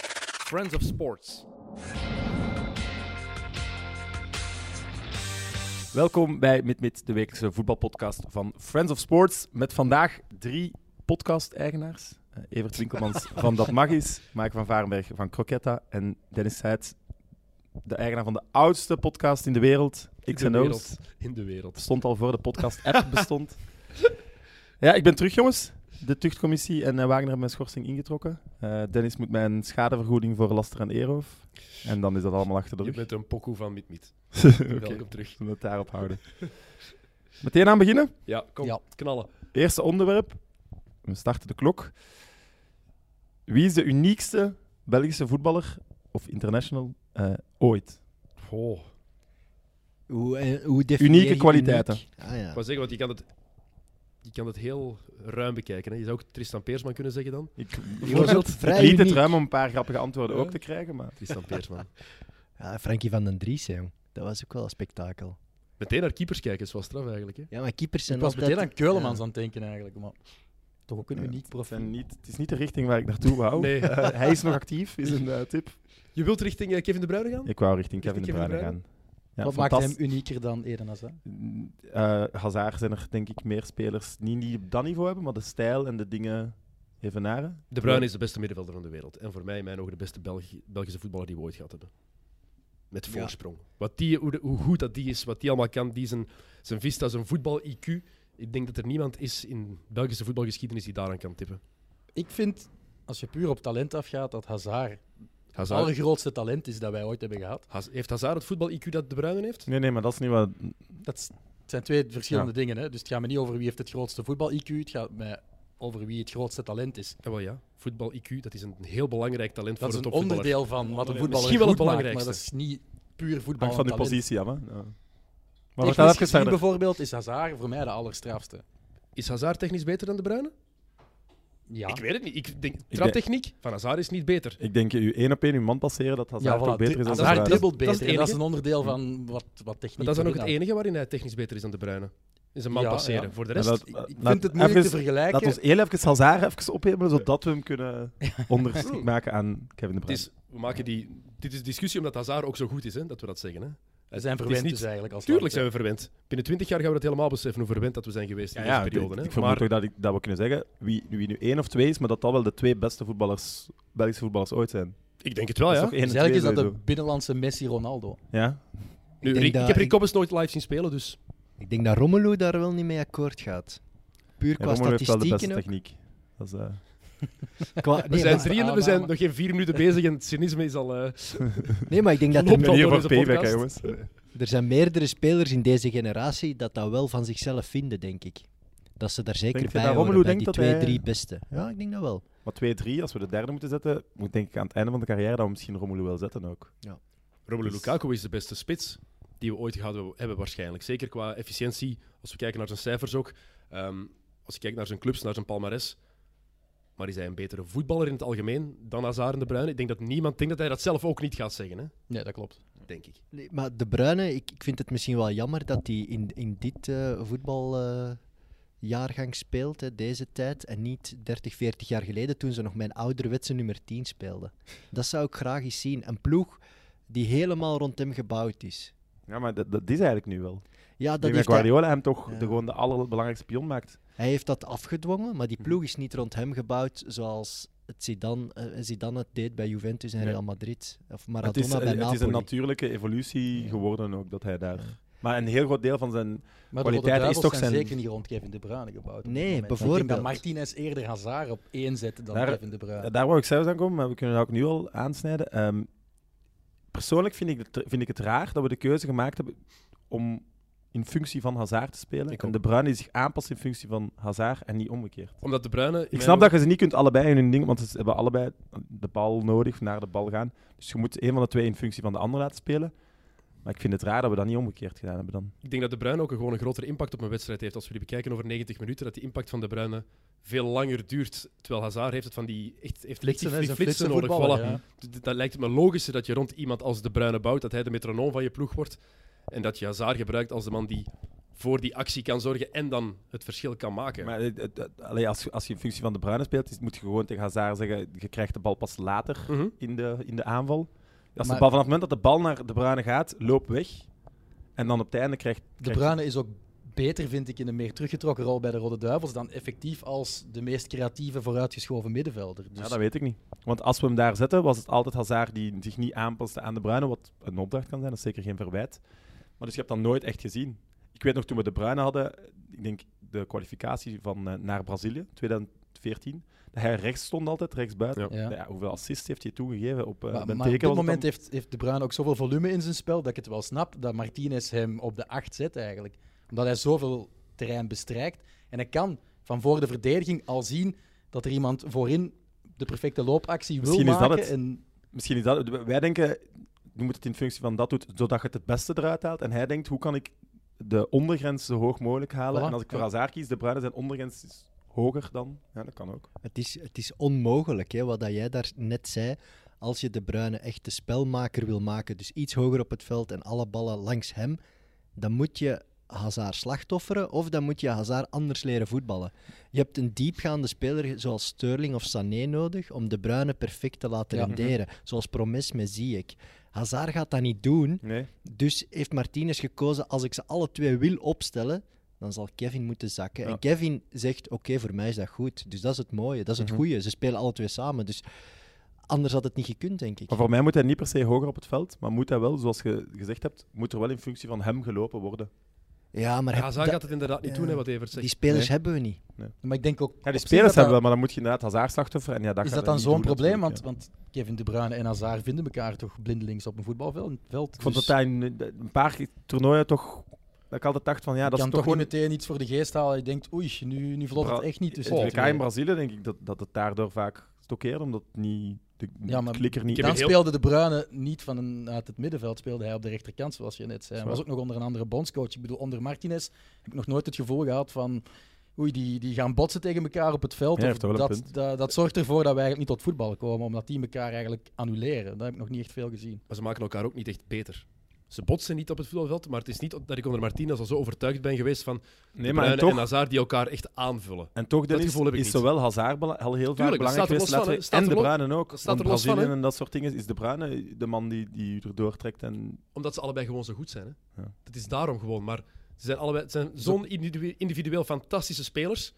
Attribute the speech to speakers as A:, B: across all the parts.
A: Friends of Sports.
B: Welkom bij MidMid, de wekelijkse voetbalpodcast van Friends of Sports. Met vandaag drie podcast-eigenaars. Eh, Evert Winkelmans van Dat Mag Is, Mike van Varenberg van Croquetta en Dennis Seitz, de eigenaar van de oudste podcast in de wereld, X
A: in de
B: O's.
A: wereld. In de wereld.
B: Bestond al voor de podcast-app bestond. ja, ik ben terug, jongens. De tuchtcommissie en eh, Wagner hebben mijn schorsing ingetrokken. Eh, Dennis moet mijn schadevergoeding voor laster en eerhoof. En dan is dat allemaal achter de
A: Je
B: rug.
A: bent een pokoe van MidMid.
B: Oké,
A: Welkom terug.
B: we het daarop houden. Meteen aan beginnen.
A: Ja, kom.
C: Ja.
A: Knallen.
B: Eerste onderwerp. We starten de klok. Wie is de uniekste Belgische voetballer of international eh, ooit?
A: Oh.
C: Hoe, eh, hoe definieer
B: Unieke
C: je
B: kwaliteiten.
C: uniek? Ah, ja.
A: Ik wou zeggen, want je kan het, je kan het heel ruim bekijken. Hè. Je zou ook Tristan Peersman kunnen zeggen dan.
B: Ik,
C: wordt vrij
B: ik liet het
C: uniek.
B: ruim om een paar grappige antwoorden
A: Ja.
B: ook te krijgen, maar
A: Tristan Peersman.
C: Ja, Frankie van den Dries, hè, jong. Dat was ook wel een spektakel.
A: Meteen naar keepers kijken is wel straf eigenlijk. Hè.
C: Ja, maar keepers zijn
D: Ik was
C: altijd...
D: meteen aan Keulemans
C: ja.
D: aan het denken eigenlijk, maar toch ook een
B: Ja,
D: uniek
B: het, zijn
D: profiel.
B: niet, het is niet de richting waar ik naartoe wou.
A: Nee.
B: Eh, hij is nog actief, is een eh, tip.
A: Je wilt richting eh, Kevin de Bruyne gaan?
B: Ik wou richting Kevin
A: Richting
B: de
A: Kevin
B: Bruyne
A: de
B: gaan. Ja,
D: Wat maakt hem
B: fantastisch.
D: unieker dan Eden Hazard?
B: Eh, Hazard zijn er denk ik meer spelers niet die op dat niveau hebben, maar de stijl en de dingen evenaren.
A: De Bruyne is de beste middenvelder van de wereld. En voor mij in mijn ogen de beste Belgi- Belgische voetballer die we ooit gehad hebben. Met
C: Ja.
A: voorsprong. Wat die, hoe, de- hoe goed dat die is, wat die allemaal kan, die zijn, zijn vista, zijn voetbal-IQ. Ik denk dat er niemand is in Belgische voetbalgeschiedenis die daaraan kan tippen.
D: Ik vind, als je puur op talent afgaat, dat Hazard het
A: Hazard,
D: allergrootste talent is dat wij ooit hebben gehad.
A: Haz- heeft Hazard het voetbal-IQ dat De Bruyne heeft?
B: Nee, nee, maar dat is niet wat
D: Dat is- het zijn twee verschillende
B: Ja.
D: dingen. Hè? Dus het gaat me niet over wie heeft het grootste voetbal-IQ, het gaat mij over wie het grootste talent is.
A: Ja, Eh, wel ja. Voetbal-IQ, dat is een heel belangrijk talent
D: Dat is
A: voor een
D: een
A: topvoetballer.
D: onderdeel van wat een voetballer
A: Misschien wel het
D: goed maakt, maar dat
A: belangrijkste.
D: is niet puur voetbal.
B: hangt van uw
D: talent.
B: positie af. Hè? Ja. Maar
D: Technisch
B: we gaan even
D: gezien
B: verder.
D: bijvoorbeeld is Hazard voor mij de allerstrafste.
A: Is Hazard technisch beter dan De Bruyne?
D: Ja,
A: Ik weet het niet. Ik denk, traptechniek van Hazard is niet beter.
B: Ik denk, u één op één uw man passeren, dat Hazard
D: ja,
B: toch
D: voilà.
B: beter is dan
D: Hazard
B: Hazard.
D: dribbelt
A: Dat is het
D: beter. en Dat is
A: enige.
D: een onderdeel van wat, wat techniek.
A: Maar dat is dan ook het
D: kan.
A: enige waarin hij technisch beter is dan De Bruyne. Is een man
D: Ja,
A: passeren.
D: ja.
A: Voor de
B: En
A: rest...
B: dat- eh,
D: e- Ik, ik
B: laat
D: vind het moeilijk te
B: even-
D: vergelijken.
B: Laat ons heel even Hazard even ophebelen, zodat we hem kunnen ondergeschikt maken aan Kevin de
A: Het
B: Bruyne.
A: is, we maken die, dit is discussie omdat Hazard ook zo goed is, hè, dat we dat zeggen. Hè.
D: We
A: Het
D: zijn
A: is
D: verwend
A: niet-
D: dus eigenlijk. Als
A: Tuurlijk
D: land,
A: zijn we verwend. Binnen twintig jaar gaan we dat helemaal beseffen hoe verwend dat we zijn geweest
B: Ja,
A: in
B: ja,
A: deze periode.
B: ik, ik
A: hè.
B: vermoed
A: Maar
B: toch dat, ik, dat we kunnen zeggen wie, wie nu één of twee is, maar dat dat wel de twee beste voetballers, Belgische voetballers ooit zijn.
A: ik denk het wel,
B: dat is
A: ja.
B: toch één
D: hè. Dus
B: en twee
D: eigenlijk is dat de
B: sowieso.
D: binnenlandse Messi Ronaldo.
B: Ja?
A: Nu, Rick-
C: Ik denk
A: ik,
C: dat-
A: heb Rick
C: ik-
A: Cobbes nooit live zien spelen, dus
C: Ik denk dat Romelu daar wel niet mee akkoord gaat. Puur
B: Ja,
C: qua
B: Romelu heeft wel de beste
C: statistieken ook.
B: techniek. Dat is, eh,
C: Qua-
A: we
C: nee,
A: zijn,
C: maar,
A: drie, we
D: aanname.
A: zijn nog geen vier minuten bezig en het cynisme is al... eh,
C: nee, maar ik denk dat
A: Loopt
C: er,
B: ben hier
A: door
B: voor
A: deze
B: payback, hè, jongens.
A: podcast.
C: er zijn meerdere spelers in deze generatie dat dat wel van zichzelf vinden, denk ik. Dat ze daar zeker
B: Denk je
C: bij
B: dat
C: horen,
B: Romelu
C: bij
B: denkt
C: die
B: dat
C: twee,
B: hij-
C: drie beste. Ja, ik denk dat wel.
B: Maar 2-3, als we de derde moeten zetten, moet denk ik aan het einde van de carrière dat we misschien Romelu wel zetten ook.
A: Romelu
B: Dus-
A: Lukaku is de beste spits die we ooit gehad hebben waarschijnlijk. Zeker qua efficiëntie, als we kijken naar zijn cijfers ook. Ehm, als je kijkt naar zijn clubs, naar zijn palmares. Maar is hij een betere voetballer in het algemeen dan Hazard en De Bruyne? Ik denk dat niemand denkt dat hij dat zelf ook niet gaat zeggen, hè?
D: Nee, dat klopt.
A: denk ik.
C: Nee, maar De Bruyne, ik, ik vind het misschien wel jammer dat hij in, in dit eh, voetbaljaargang speelt, hè, deze tijd, en niet 30, 40 jaar geleden toen ze nog mijn ouderwetse nummer 10 speelden. Dat zou ik graag eens zien. Een ploeg die helemaal rond hem gebouwd is.
B: Ja, maar dat, dat is eigenlijk nu wel.
C: Ja,
B: Ik
C: dat
B: denk dat
C: heeft hij,
B: Guardiola hem toch
C: Ja.
B: de, gewoon de allerbelangrijkste pion maakt.
C: hij heeft dat afgedwongen, maar die
B: Mhm.
C: ploeg is niet rond hem gebouwd zoals het Zidane, eh, Zidane het deed bij Juventus en
B: Nee.
C: Real Madrid. Of
B: Het
C: Maradona
B: is,
C: bij
B: eh, het
C: Napoli.
B: is een natuurlijke evolutie geworden ook, dat hij daar... Maar een heel groot deel van zijn...
D: Maar
B: Kwaliteit
D: de Rode Duivels
B: is toch
D: zijn
B: zijn-
D: zeker niet rond Kevin De Bruyne gebouwd. op dit
C: Nee,
D: moment. Ik denk
C: bijvoorbeeld.
D: dat Martinez eerder Hazard op één zet dan
B: Daar-
D: Kevin De Bruyne.
B: Daar wou ik zelfs aan komen, maar we kunnen dat ook nu al aansnijden. Ehm, persoonlijk vind ik, het, vind ik het raar dat we de keuze gemaakt hebben om in functie van Hazard te spelen.
A: Ik
B: en
A: ook.
B: De Bruyne die zich aanpast in functie van Hazard en niet omgekeerd.
A: Omdat De Bruyne... in
B: Ik
A: mijn
B: snap dat
A: ogen-
B: je ze niet kunt allebei in hun ding, want ze hebben allebei de bal nodig, naar de bal gaan. Dus je moet een van de twee in functie van de ander laten spelen. Maar ik vind het raar dat we dat niet omgekeerd gedaan hebben dan.
A: Ik denk dat De Bruyne ook een- gewoon een grotere impact op een wedstrijd heeft. Als we die bekijken over 90 minuten, dat die impact van De Bruyne veel langer duurt. Terwijl Hazard heeft het van die... Echt, heeft
D: Flitsen, hè,
A: die
D: is een
A: flitsen nodig.
D: flitsenvoetballer,
A: Voilà.
D: ja.
A: D- d- Dat lijkt me logischer dat je rond iemand als De Bruyne bouwt, dat hij de metronoom van je ploeg wordt. En dat je Hazard gebruikt als de man die voor die actie kan zorgen en dan het verschil kan maken.
B: Maar het- het- het- allee, als, je- als je in functie van de Bruyne speelt, is- moet je gewoon tegen Hazard zeggen, je krijgt de bal pas later
A: Mhm.
B: in de, in de aanval. Als
D: Maar-
B: de bal, vanaf het moment dat de bal naar de Bruyne gaat, loop weg. En dan op het einde krijgt...
D: De
B: krijgt-
D: Bruyne is ook beter, vind ik, in een meer teruggetrokken rol bij de Rode Duivels dan effectief als de meest creatieve vooruitgeschoven middenvelder. Dus
B: Ja, dat weet ik niet. Want als we hem daar zetten, was het altijd Hazard die zich niet aanpaste aan de Bruyne, wat een opdracht kan zijn, dat is zeker geen verwijt. Maar dus je hebt dat nooit echt gezien. Ik weet nog, toen we de Bruyne hadden, ik denk de kwalificatie van, eh, naar Brazilië, 2014, dat hij rechts stond altijd, rechts buiten.
A: Ja.
D: Ja.
B: Nou ja, hoeveel assists heeft hij toegegeven op eh
D: Maar,
B: Benteke
D: maar op dit
B: was het
D: moment
B: dan?
D: heeft, heeft De Bruyne ook zoveel volume in zijn spel dat ik het wel snap dat Martinez hem op de 8 zet eigenlijk. Omdat hij zoveel terrein bestrijkt. En hij kan van voor de verdediging al zien dat er iemand voorin de perfecte loopactie wil
B: Misschien is dat
D: maken.
B: het.
D: En
B: Misschien is dat... Wij denken, je moet het in functie van dat doen, zodat je het het beste eruit haalt. En hij denkt, hoe kan ik de ondergrens zo hoog mogelijk halen?
D: Voilà,
B: En als ik voor
D: ja.
B: Hazard kies, de Bruyne zijn ondergrens is hoger dan. Ja, dat kan ook.
C: Het is, het is onmogelijk, hè, wat dat jij daar net zei. Als je de Bruyne echt de spelmaker wil maken, dus iets hoger op het veld en alle ballen langs hem, dan moet je Hazard slachtofferen of dan moet je Hazard anders leren voetballen. Je hebt een diepgaande speler zoals Sterling of Sané nodig om de Bruyne perfect te laten
D: Ja.
C: renderen, zoals Promes met Ziyech. Hazard gaat dat niet doen,
B: Nee.
C: dus heeft Martinez gekozen, als ik ze alle twee wil opstellen, dan zal Kevin moeten zakken.
B: Ja.
C: En Kevin zegt, oké, voor mij is dat goed. Dus dat is het mooie, dat is het
B: Mhm.
C: goede. Ze spelen alle twee samen, dus anders had het niet gekund, denk ik.
B: Maar voor mij moet hij niet per se hoger op het veld, maar moet hij wel, zoals je gezegd hebt, moet er wel in functie van hem gelopen worden.
C: Ja, maar heb-
A: Hazard
C: dat-
A: gaat het inderdaad niet doen, hè, wat Evert
C: die
A: zegt.
C: spelers
B: Nee.
C: hebben we niet.
D: Maar ik denk ook.
B: Ja,
D: op
B: die
D: zich
B: spelers
D: dat
B: hebben we, maar dan moet je inderdaad Hazard slachtoffer. En ja, dat gaat
D: Is dat
B: hij
D: dan
B: niet
D: zo'n
B: doen,
D: probleem? Want,
B: natuurlijk, ja.
D: want Kevin De Bruyne en Hazard vinden elkaar toch blindelings op een voetbalveld. veld,
B: Ik vond
D: dus
B: dat hij in een paar toernooien toch... Dat ik altijd dacht van, ja,
D: je
B: dat is
D: kan
B: toch
D: toch
B: gewoon...
D: niet meteen iets voor de geest halen. Je denkt, oei, nu, nu vlot het
B: Bra-
D: echt niet. Dus
B: het WK in Brazilië denk ik dat, dat het daardoor vaak stokkeerde, omdat het niet, de
D: Ja, maar-
B: de klikker niet...
A: Ik heb
D: Dan
A: hier heel-
D: speelde De Bruyne niet van een, uit het middenveld, speelde hij op de rechterkant, zoals je net zei. Hij
B: Zwaar.
D: was ook nog onder een andere bondscoach. Ik bedoel, onder Martinez heb ik nog nooit het gevoel gehad van... Oei, die, die gaan botsen tegen elkaar op het veld.
B: Ja, hij
D: Of
B: heeft wel een
D: dat,
B: punt.
D: dat, dat zorgt ervoor dat wij eigenlijk niet tot voetbal komen, omdat die elkaar eigenlijk annuleren. Dat heb ik nog niet echt veel gezien.
A: Maar ze maken elkaar ook niet echt beter. Ze botsen niet op het voetbalveld, maar het is niet dat ik onder Martinez al zo overtuigd ben geweest van
B: nee,
A: de
B: maar en
A: Bruyne en
B: toch,
A: Hazard die elkaar echt aanvullen.
B: en toch
A: dat
B: Dennis,
A: gevoel heb ik
B: is
A: niet.
B: zowel Hazard bela- al heel vaak
A: Tuurlijk, dat
B: belangrijk
A: staat er
B: geweest,
A: los van,
B: laten we-
A: hè. Dat staat
B: en de
A: er los-
B: Bruinen ook.
A: dat staat
B: Want
A: er los van,
B: Brazilië
A: hè.
B: en dat soort dingen is de Bruyne de man die, die u erdoor trekt. En,
A: Omdat ze allebei gewoon zo goed zijn. Hè?
B: Ja.
A: Dat is daarom gewoon. Maar ze zijn allebei het zijn zo'n individu- individueel fantastische spelers.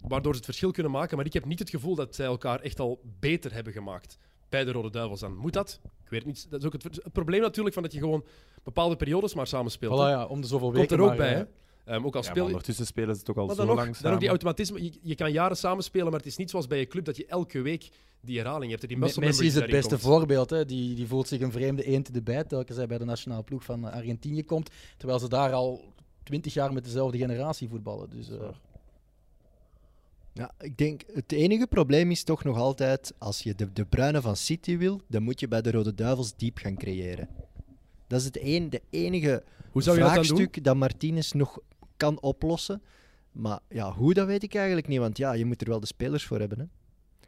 A: Waardoor ze het verschil kunnen maken. Maar ik heb niet het gevoel dat zij elkaar echt al beter hebben gemaakt. Bij de Rode Duivels dan. Moet dat? Ik weet het niet. Dat is ook het, het probleem natuurlijk van dat je gewoon bepaalde periodes maar samen
D: Voilà,
A: speelt. hè.
D: ja, om de zoveel
A: Komt
D: weken.
A: er ook
D: maar,
A: bij.
D: eh,
A: hè. Ehm, ook al
B: ja, maar
A: speel je.
B: ondertussen spelen ze toch al
A: Maar
B: zo
A: dan
B: lang
A: ook, dan ook die
B: samen.
A: automatisme. Je, je kan jaren samenspelen, maar het is niet zoals bij je club dat je elke week die herhaling hebt. en Die
D: Me-
A: muscle
D: Messi is het
A: memory
D: beste
A: daarin komt.
D: voorbeeld. Hè. Die, die voelt zich een vreemde eend in de bijt telkens hij bij de nationale ploeg van eh, Argentinië komt. Terwijl ze daar al twintig jaar met dezelfde generatie voetballen. Dus, eh,
B: Zwaar.
C: Ja, ik denk, het enige probleem is toch nog altijd, als je de, de bruine van City wil, dan moet je bij de Rode Duivels diep gaan creëren. Dat is het een, de enige
A: Hoe zou je dat dan doen?
C: vraagstuk dat, Martinez nog kan oplossen. Maar ja, hoe, dat weet ik eigenlijk niet, want ja, je moet er wel de spelers voor hebben. Hè?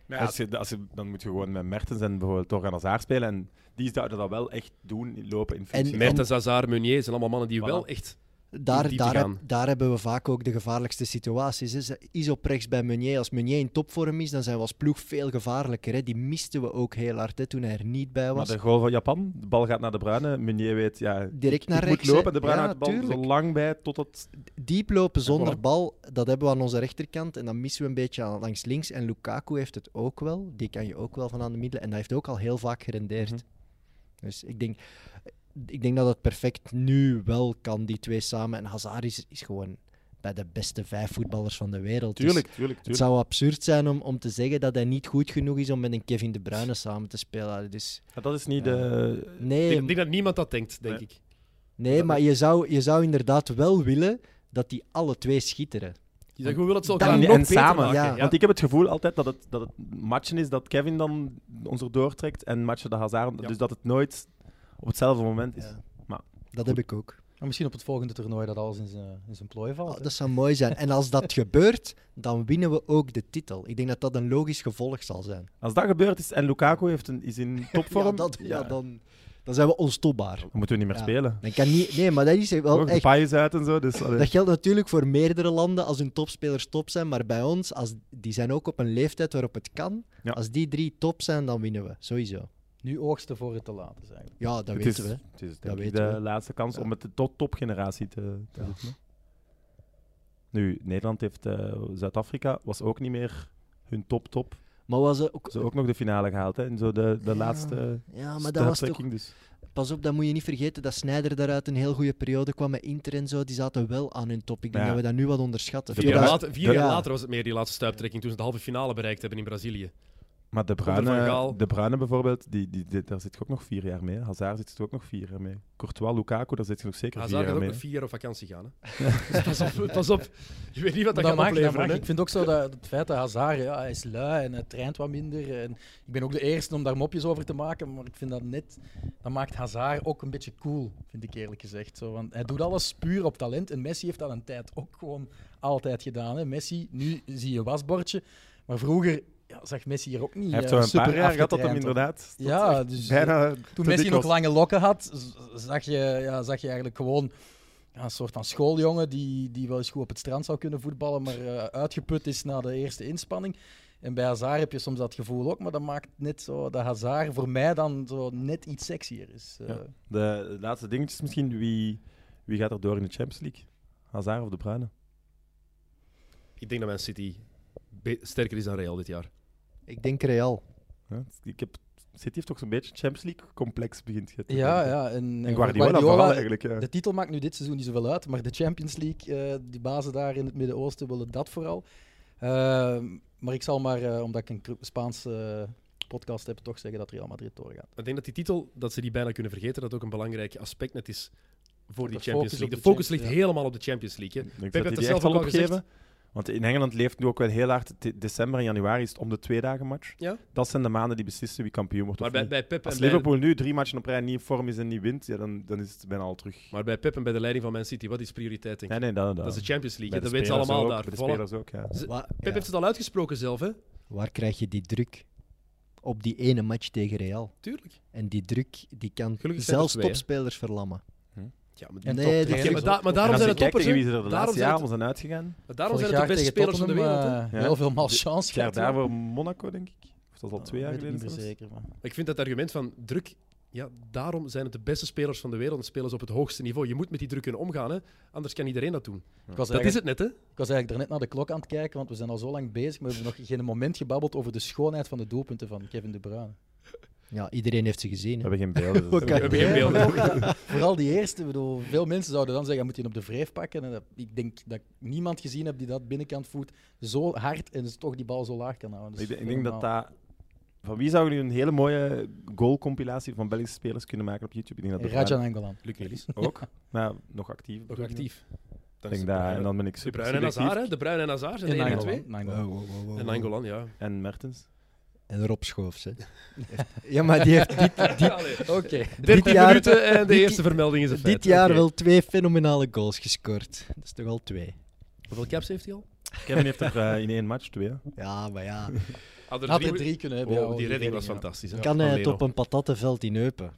B: Maar ja, als je, als je, dan moet je gewoon met Mertens en bijvoorbeeld toch aan Hazard spelen. En die zouden dat wel echt doen, lopen in functie.
C: En-
B: van-
A: Mertens, Hazard, Meunier zijn allemaal mannen die
B: Voilà.
A: wel echt
C: Daar,
A: diep te
C: daar, heb-
A: gaan.
C: daar hebben we vaak ook de gevaarlijkste situaties. Hè. Ze- Is op rechts bij Meunier. Als Meunier in topvorm is, dan zijn we als ploeg veel gevaarlijker. Hè. Die misten we ook heel hard hè, toen hij er niet bij
B: Maar
C: was.
B: de goal van Japan, de bal gaat naar de Bruyne. Meunier weet, ja,
C: Direct
B: ik,
C: naar
B: ik
C: rechts,
B: moet
C: hè.
B: lopen. en De Bruyne
C: Ja,
B: houdt de bal
C: tuurlijk.
B: zo lang bij tot het...
C: Diep lopen zonder
B: voilà.
C: bal, dat hebben we aan onze rechterkant. En dan missen we een beetje aan, langs links. En Lukaku heeft het ook wel. Die kan je ook wel van aan de middelen. En dat heeft ook al heel vaak gerendeerd.
B: Mhm.
C: Dus ik denk, ik denk dat het perfect nu wel kan, die twee samen. En Hazard is, is gewoon bij de beste vijf voetballers van de wereld. Dus
B: Tuurlijk, tuurlijk,
C: het
B: tuurlijk.
C: zou absurd zijn om, om te zeggen dat hij niet goed genoeg is om met een Kevin De Bruyne samen te spelen. Dus
B: Ja, dat is niet
C: Ja.
B: de...
A: Ik
C: nee,
A: denk, denk dat niemand dat denkt, denk
B: Nee.
A: ik.
C: nee maar je zou, je zou inderdaad wel willen dat die alle twee schitteren.
A: Je zegt, hoe wil het zo
C: Dan-
A: elkaar
B: en
A: nog
B: en
A: beter
B: samen.
A: maken?
C: ja.
B: Want ik heb het gevoel altijd dat het, dat het matchen is dat Kevin dan ons erdoor trekt en matchen de Hazard.
A: Ja.
B: Dus dat het nooit op hetzelfde moment is.
C: Ja.
B: Maar
C: Dat heb ik ook.
D: maar misschien op het volgende toernooi dat alles in zijn, in zijn plooi valt.
C: Oh,
D: hè.
C: dat zou mooi zijn. En als dat gebeurt, dan winnen we ook de titel. Ik denk dat dat een logisch gevolg zal zijn.
B: Als dat gebeurd is en Lukaku heeft een, is in topvorm...
C: ja, dat, ja, dan, Dan zijn we onstopbaar.
B: Dan moeten we niet meer
C: Ja.
B: spelen.
C: Dan kan niet... Nee, maar dat is wel
B: Toch? De
C: echt...
B: paai is uit en zo. Dus, allee.
C: Dat geldt natuurlijk voor meerdere landen als hun topspelers top zijn, maar bij ons, als, die zijn ook op een leeftijd waarop het kan.
B: Ja.
C: Als die drie top zijn, dan winnen we, sowieso.
D: Nu oogsten voor het te laat is eigenlijk.
C: Ja, dat
B: het is,
C: weten we.
B: het is denk ik
C: weten
B: de
C: we.
B: laatste kans
C: Ja.
B: om het tot topgeneratie te, te roepen. Nu, Nederland heeft eh, Zuid-Afrika, was ook niet meer hun top-top.
C: Maar was er ook...
B: Ze hebben ook nog de finale gehaald. Hè? En zo de, de
C: Ja.
B: laatste
C: Ja, maar dat was toch...
B: stuiptrekking, Dus.
C: Pas op, dat moet je niet vergeten dat Snyder daaruit een heel goede periode kwam met Inter en zo. Die zaten wel aan hun top. Ik denk
B: Ja.
C: dat we dat nu wat onderschatten.
A: Vier, jaar
C: Terwijl-
A: later, vier jaar
C: Ja.
A: later was het meer die laatste stuiptrekking toen ze de halve finale bereikt hebben in Brazilië.
B: Maar de
A: Van
B: Bruine,
A: Gaal.
B: de Bruine bijvoorbeeld, die, die, die- daar zit je ook nog vier jaar mee. Hazard zit er ook nog vier jaar mee. Courtois, Lukaku, daar zit je nog zeker
A: Hazard
B: vier
A: gaat
B: jaar
A: ook
B: mee.
A: nog vier jaar op vakantie gaan. Hè. Dus pas op, pas op. Je weet niet wat dat,
D: Maar
A: gaat
D: mag,
A: opleveren.
D: mag.
A: hè.
D: Ik vind ook zo dat het feit dat Hazard ja, hij is lui en hij traint wat minder. En ik ben ook de eerste om daar mopjes over te maken, maar ik vind dat net... Dat maakt Hazard ook een beetje cool, vind ik eerlijk gezegd. Zo, want hij doet alles puur op talent en Messi heeft dat een tijd ook gewoon altijd gedaan. Hè. Messi, nu zie je wasbordje, maar vroeger ja, zag Messi er ook niet
B: Hij heeft
D: eh,
B: zo een paar
D: super
B: jaar gehad dat hem
D: afgetraind, hoor.
B: inderdaad dat
D: Ja,
B: echt
D: dus, eh,
B: bijna
D: Toen Messi nog
B: lang.
D: lange lokken had, z- zag je, ja, zag je eigenlijk gewoon ja, een soort van schooljongen die, die wel eens goed op het strand zou kunnen voetballen, maar eh, uitgeput is na de eerste inspanning. En bij Hazard heb je soms dat gevoel ook, maar dat maakt net zo dat Hazard voor mij dan zo net iets sexier is. Eh,
B: Ja. De, de laatste dingetjes misschien, wie, wie gaat er door in de Champions League? Hazard of de Bruyne?
A: Ik denk dat Man City be- sterker is dan Real dit jaar.
C: Ik denk Real.
B: Ja, het- ik heb, City heeft toch zo'n beetje Champions League complex begint. je te
D: Ja,
B: denken.
D: ja. En,
B: En
D: en
B: Guardiola, vooral eigenlijk. Ja.
D: De titel maakt nu dit seizoen niet zoveel uit, maar de Champions League, eh, die bazen daar in het Midden-Oosten willen dat vooral. Ehm, maar ik zal maar, eh, omdat ik een Kro- Spaanse eh, podcast heb, toch zeggen dat Real Madrid doorgaat.
A: Ik denk dat die titel, dat ze die bijna kunnen vergeten, dat ook een belangrijk aspect net is voor die
D: focus
A: Champions
D: op
A: League. De
D: de
A: focus ligt
D: Champions-
A: helemaal op de Champions League. Hè.
B: Ik denk
A: Pep
B: dat
A: heeft
B: die
A: het
B: die
A: zelf
B: echt al
A: ook al gezegd.
B: opgegeven. Want in Engeland leeft nu ook wel heel hard. de- December en januari is het om de twee dagen match.
A: Ja.
B: Dat zijn de maanden die beslissen wie kampioen wordt.
A: Maar
B: of
A: bij,
B: niet.
A: bij Pep en
B: Als
A: bij-
B: Liverpool nu drie matchen op rij niet in vorm is en niet wint, ja, dan, dan is het bijna al terug.
A: maar bij Pep en bij de leiding van Man City, wat is prioriteit? Denk ik?
B: Nee, nee, dat,
A: Dat is de Champions League,
B: Bij
A: hè. dat
B: de
A: weten ze
B: spelers
A: allemaal
B: ook,
A: daar.
B: Bij de
A: Voilà.
B: spelers ook, ja.
C: Wa-
A: Pep
C: ja.
A: heeft het al uitgesproken zelf, hè?
C: Waar krijg je die druk? Op die ene match tegen Real.
A: Tuurlijk.
C: En die druk die kan
A: Gelukkig zijn er
C: zelfs
A: twee, hè.
C: topspelers verlammen.
A: Ja, maar,
C: En
A: Oké,
C: nee,
D: toptrainers
A: maar,
D: ook.
C: dat-
A: da- maar
D: En
A: daarom
B: en als
A: zijn
B: je
A: het
B: kijkt
A: toppers.
B: tegen
A: hè.
B: wie ze er de
A: Daarom
B: laatste
A: zijn
B: jaar
A: het-
B: om zijn uitgegaan.
A: Maar daarom
D: Vorig
A: zijn het de
D: jaar
A: beste
D: tegen
A: spelers van de
D: Tottenham,
A: wereld. hè.
D: eh,
B: Ja.
D: Heel veel malchance
B: Het jaar
D: gehad.
B: daarvoor Monaco, denk ik. Of dat is al
D: Ja,
B: twee jaar
D: Oh, weet ik
B: geleden.
D: niet meer
B: zelfs.
D: zeker. Maar.
A: Ik vind dat argument van druk. Ja, daarom zijn het de beste spelers van de wereld. en Spelers op het hoogste niveau. Je moet met die druk kunnen omgaan, hè? anders kan iedereen dat doen.
D: Ik, was
A: Dat is
D: eigenlijk-
A: het net, hè?
D: ik was eigenlijk daarnet naar de klok aan het kijken, want we zijn al zo lang bezig, maar we hebben nog geen moment gebabbeld over de schoonheid van de doelpunten van Kevin De Bruyne.
C: Ja, iedereen heeft ze gezien.
B: We
C: hè.
B: hebben geen beelden. dus-
A: We hebben geen beelden.
D: Vooral die eerste. ik Bedoel, veel mensen zouden dan zeggen, je moet die op de wreef pakken. En dat- ik denk dat ik niemand gezien heb die dat binnenkant voet zo hard en dus toch die bal zo laag kan houden.
B: Ik, denk- ik denk dat dat... Van wie zou nu een hele mooie goalcompilatie van Belgische spelers kunnen maken op YouTube? Ik denk dat De
D: Rajan
B: Bruyne
D: Angolan.
A: Luc Nelis,
B: ook. Maar nog actief.
A: nog actief.
B: Ik denk
A: eh,
B: dat, en dan ben ik
A: De
B: super
A: Bruin en Hazard,
B: selectief.
A: hè? De Bruin en Hazard zijn
D: En
A: de enige
D: Angolan.
A: twee.
D: Angolan.
A: En Angolan, ja.
B: En Mertens.
C: En Rob Schoofs. Hè. ja, maar die heeft dit,
A: Allee,
D: Oké.
A: 13
C: jaar-
A: minuten en de
C: dit-
A: eerste vermelding is een feit.
C: dit jaar
A: Oké.
C: wel twee fenomenale goals gescoord. Dat is toch al twee.
A: Hoeveel caps heeft hij al?
B: Kevin heeft er eh, in één match twee. hè.
C: Ja, maar ja.
A: Had
D: Had er drie kunnen hebben.
A: Oh,
D: ja,
A: die redding was
D: ja.
A: fantastisch. hè.
C: Kan eh, hij
A: Van
C: het
A: Leno.
C: op een patattenveld in Eupen?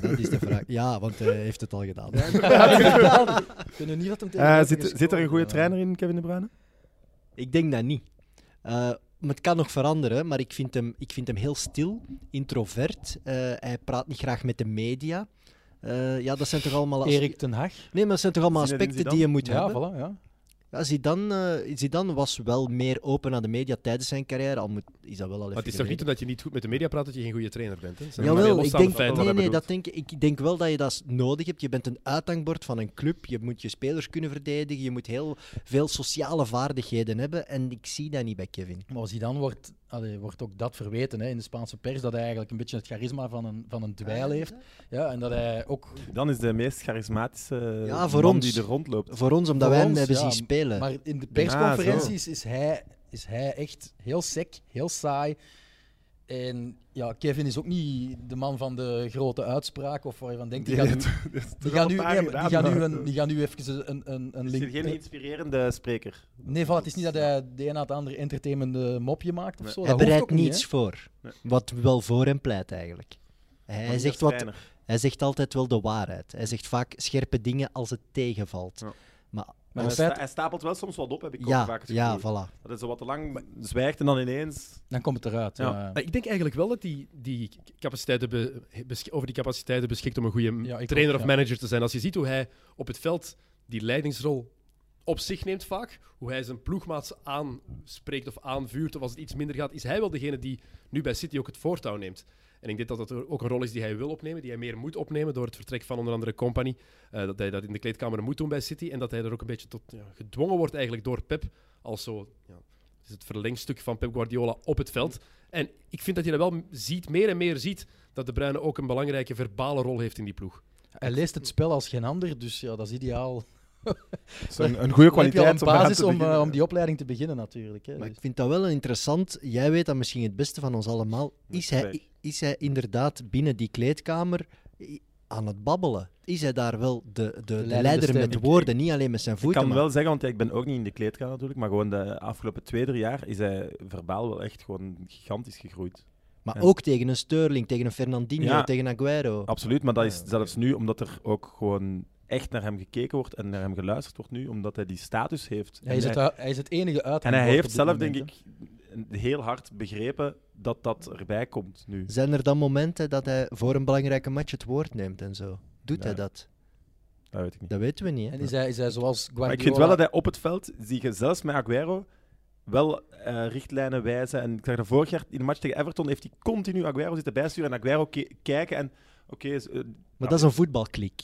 C: Dat is de vraag. Ja, want hij heeft het al gedaan.
D: Ja, Ik vind nu niet dat hem tegen
B: Eh,
D: Everton
B: zit,
D: gescoord
B: zit er een goede
D: heeft.
B: trainer in, Kevin De Bruyne?
C: Ik denk dat niet. Eh, maar het kan nog veranderen, maar ik vind hem, ik vind hem heel stil, introvert. Eh, hij praat niet graag met de media. Eh, ja, dat zijn toch allemaal... as-
D: Erik ten Hag.
C: Nee, maar dat zijn toch allemaal
B: Zinedine
C: aspecten die je moet
D: Ja,
C: hebben.
D: voilà. Ja.
C: Ja, Zidane, eh, Zidane was wel meer open aan de media tijdens zijn carrière. Al moet, is dat wel al even
A: Maar het is toch niet
C: geleden.
A: omdat je niet goed met de media praat dat je geen goede trainer bent? Hè? Zijn er maar
C: Jawel,
A: heel
C: ik
A: losstaande
C: denk,
A: feiten.
C: nee,
B: dat
C: nee,
B: bedoelt.
C: dat denk, ik Ik denk wel dat je dat nodig hebt. Je bent een uithangbord van een club. Je moet je spelers kunnen verdedigen. Je moet heel veel sociale vaardigheden hebben. En ik zie dat niet bij Kevin.
D: Maar Zidane wordt, allee, wordt ook dat verweten hè, in de Spaanse pers, dat hij eigenlijk een beetje het charisma van een, van een dweil heeft. Ja, en dat hij ook...
B: Dan is de meest charismatische
C: Ja, voor
B: man
C: ons.
B: die er rondloopt.
C: Voor ons, omdat
D: Voor
C: wij
D: ons,
C: hem hebben
D: ja,
C: zien spelen.
D: Maar in de persconferenties is, hij, is hij echt heel sec, heel saai. En ja, Kevin is ook niet de man van de grote uitspraak of waar je van denkt. Die, gaat, nu- die, gaan, nu, nee, maar die, gaan, nu een, die gaan nu even een, een, een
B: Is
D: link...
B: er geen inspirerende spreker?
D: Nee, voilà, het is niet dat hij de een na het andere entertainende mopje maakt of
B: Nee.
D: zo.
C: hij
D: dat hoeft
C: bereidt
D: ook niet,
C: niets
D: hè.
C: voor.
B: Nee.
C: Wat wel voor hem pleit eigenlijk.
B: Maar
C: Hij
B: niet als
C: zegt, wat,
B: trainer.
C: hij zegt altijd wel de waarheid. Hij zegt vaak scherpe dingen als het tegenvalt.
B: Ja.
C: Maar
B: Maar
D: als
B: hij,
D: feit-
B: sta- hij stapelt wel soms wat op, heb ik ook
C: ja,
B: vaak het
C: ja,
B: gevoel.
C: voilà.
B: Dat hij zo wat te lang zwijgt en dan ineens...
D: Dan komt het eruit.
B: Ja.
D: ja.
A: Maar Eh, ik denk eigenlijk wel dat die, die capaciteiten be- besch- over die capaciteiten beschikt om een goede
D: Ja, ik
A: Mm, trainer
D: ook,
A: of
D: ja.
A: manager te zijn. Als je ziet hoe hij op het veld die leidingsrol op zich neemt vaak, hoe hij zijn ploegmaats aanspreekt of aanvuurt, of als het iets minder gaat, is hij wel degene die nu bij City ook het voortouw neemt. En ik denk dat dat ook een rol is die hij wil opnemen, die hij meer moet opnemen door het vertrek van onder andere Company. eh, dat hij dat in de kleedkamer moet doen bij City en dat hij er ook een beetje tot ja, gedwongen wordt eigenlijk door Pep als zo... Ja, het is het verlengstuk van Pep Guardiola op het veld. En ik vind dat je dat wel ziet, meer en meer ziet, dat De Bruyne ook een belangrijke verbale rol heeft in die ploeg.
D: Hij leest het spel als geen ander, dus ja, dat is ideaal.
B: Een, een goede
D: Dan heb je
B: kwaliteit
D: al een
B: om, aan
D: basis
B: te
D: om,
B: beginnen.
D: eh, om die opleiding te beginnen natuurlijk. Hè.
C: Maar ik
D: Dus-
C: vind dat wel een interessant. Jij weet dat misschien het beste van ons allemaal. Is hij,
B: Gelijk.
C: is hij inderdaad binnen die kleedkamer i- aan het babbelen? Is hij daar wel de, de, de
D: leidende
C: leider
D: stem.
C: met
D: Ik-
C: woorden, niet alleen met zijn
B: Ik
C: voeten?
B: kan
C: maar-
B: wel zeggen, want ja, ik ben ook niet in de kleedkamer natuurlijk, maar gewoon de afgelopen twee, drie jaar is hij verbaal wel echt gewoon gigantisch gegroeid.
C: Maar
B: Ja.
C: ook tegen een Sterling, tegen een Fernandinho,
B: Ja.
C: tegen Aguero.
B: Absoluut, maar dat is
D: Ja, oké.
B: zelfs nu omdat er ook gewoon echt naar hem gekeken wordt en naar hem geluisterd wordt nu, omdat hij die status heeft.
D: Hij is,
B: en
D: het,
B: hij,
D: ui- hij is het enige uit.
B: en hij heeft zelf, denk ik, heel hard begrepen dat dat erbij komt nu.
C: Zijn er dan momenten dat hij voor een belangrijke match het woord neemt en zo? Doet hij
B: Ja.
C: dat?
B: Dat weet ik niet.
C: Dat weten we niet. Hè?
D: Nou En is hij, is hij zoals Guardiola...
B: Maar ik vind wel dat hij op het veld, zie je zelfs met Aguero, wel eh, richtlijnen wijzen. En ik zag dat vorig jaar in de match tegen Everton, heeft hij continu Aguero zitten bijsturen en Aguero ke- kijken. En oké, is, eh,
C: Maar dat is een voetbalklik.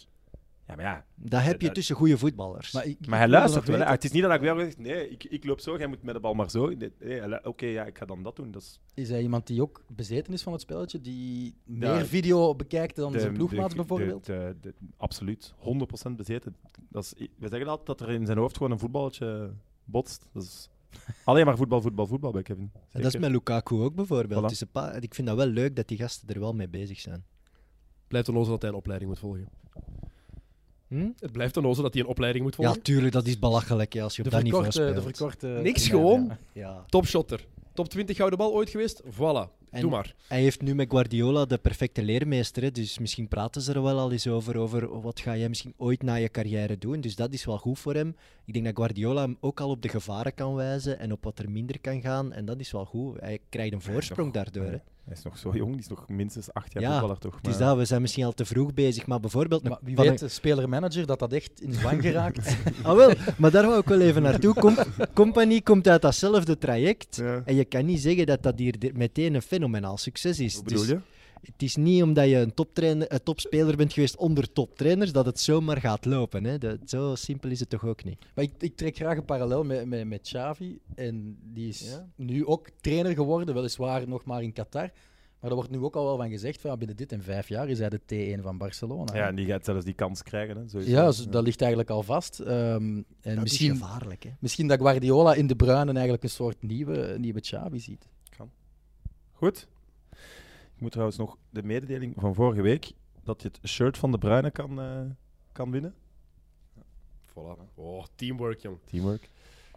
B: ja, maar ja.
C: Dat heb je
B: dat-
C: tussen goede voetballers.
D: Maar, ik-
B: Maar
D: ik
B: hij
D: wil
B: luistert
D: nog
B: wel. hè. Ah,
D: weten,
B: Het is niet dat Aguero zegt, nee, ik, ik loop zo, jij moet met de bal maar zo. Nee, nee, hij lu- oké, ja, ik ga dan dat doen. Dat is
D: Is hij iemand die ook bezeten is van het spelletje? Die
B: Ja.
D: meer video bekijkt dan zijn ploegmaat
B: de-
D: bijvoorbeeld?
B: de- de- de- absoluut, 100% bezeten. Dat is, we zeggen altijd dat er in zijn hoofd gewoon een voetballetje botst. Dat is alleen maar voetbal, voetbal, voetbal bij Kevin.
C: En dat is
B: Zeker.
C: met Lukaku ook bijvoorbeeld.
B: Voilà.
C: Het is een pa- ik vind dat wel leuk dat die gasten er wel mee bezig zijn.
A: Blijft een ozel dat hij een opleiding moet volgen.
C: Hm?
A: Het blijft een ozel dat hij een opleiding moet
C: Ja,
A: volgen.
C: tuurlijk, dat is belachelijk hè, als je op
D: de,
C: dat niveau
D: verkorte,
C: speelt.
D: de verkorte...
A: Niks
D: termijn,
A: gewoon.
D: ja.
C: Ja.
A: Topshotter. Top 20 gouden bal ooit geweest? Voilà.
C: En-
A: Doe maar.
C: Hij heeft nu met Guardiola de perfecte leermeester, hè, dus misschien praten ze er wel al eens over, over wat ga jij misschien ooit na je carrière doen. Dus dat is wel goed voor hem. Ik denk dat Guardiola hem ook al op de gevaren kan wijzen en op wat er minder kan gaan. En dat is wel goed. Hij krijgt een voorsprong daardoor. Hè.
B: Hij is nog zo jong, die is nog minstens acht jaar
C: Ja,
B: voetballer toch?
C: Het is
B: maar-
C: dat, we zijn misschien al te vroeg bezig, maar bijvoorbeeld...
D: Maar
C: een-
D: wie
C: van een-
D: weet, de speler-manager, dat dat echt in zwang geraakt.
C: Ah wel, maar daar wou ik wel even naartoe. Com Company komt uit datzelfde traject.
B: Ja.
C: En je kan niet zeggen dat dat hier di- meteen een fenomenaal succes is.
B: Hoe bedoel
C: Dus
B: je?
C: Het is niet omdat je een, toptrainer, een topspeler bent geweest onder toptrainers dat het zomaar gaat lopen. Hè? Dat, zo simpel is het toch ook niet.
D: Maar ik, ik trek graag een parallel met, met, met Xavi. En die is
C: Ja.
D: nu ook trainer geworden, weliswaar nog maar in Qatar. Maar er wordt nu ook al wel van gezegd, van, ja, binnen dit en vijf jaar is hij de T1 van Barcelona.
B: Ja, en die gaat zelfs die kans krijgen. Hè, sowieso.
D: Ja, zo- dat ligt eigenlijk al vast. Ehm, en
C: Dat is
D: misschien,
C: gevaarlijk. Hè?
D: misschien dat Guardiola in de Bruinen eigenlijk een soort nieuwe, nieuwe Xavi ziet.
B: Goed. Ik moet trouwens nog de mededeling van vorige week dat je het shirt van de Bruine kan, eh, kan winnen.
A: Voilà. Oh, teamwork, jong.
B: Teamwork.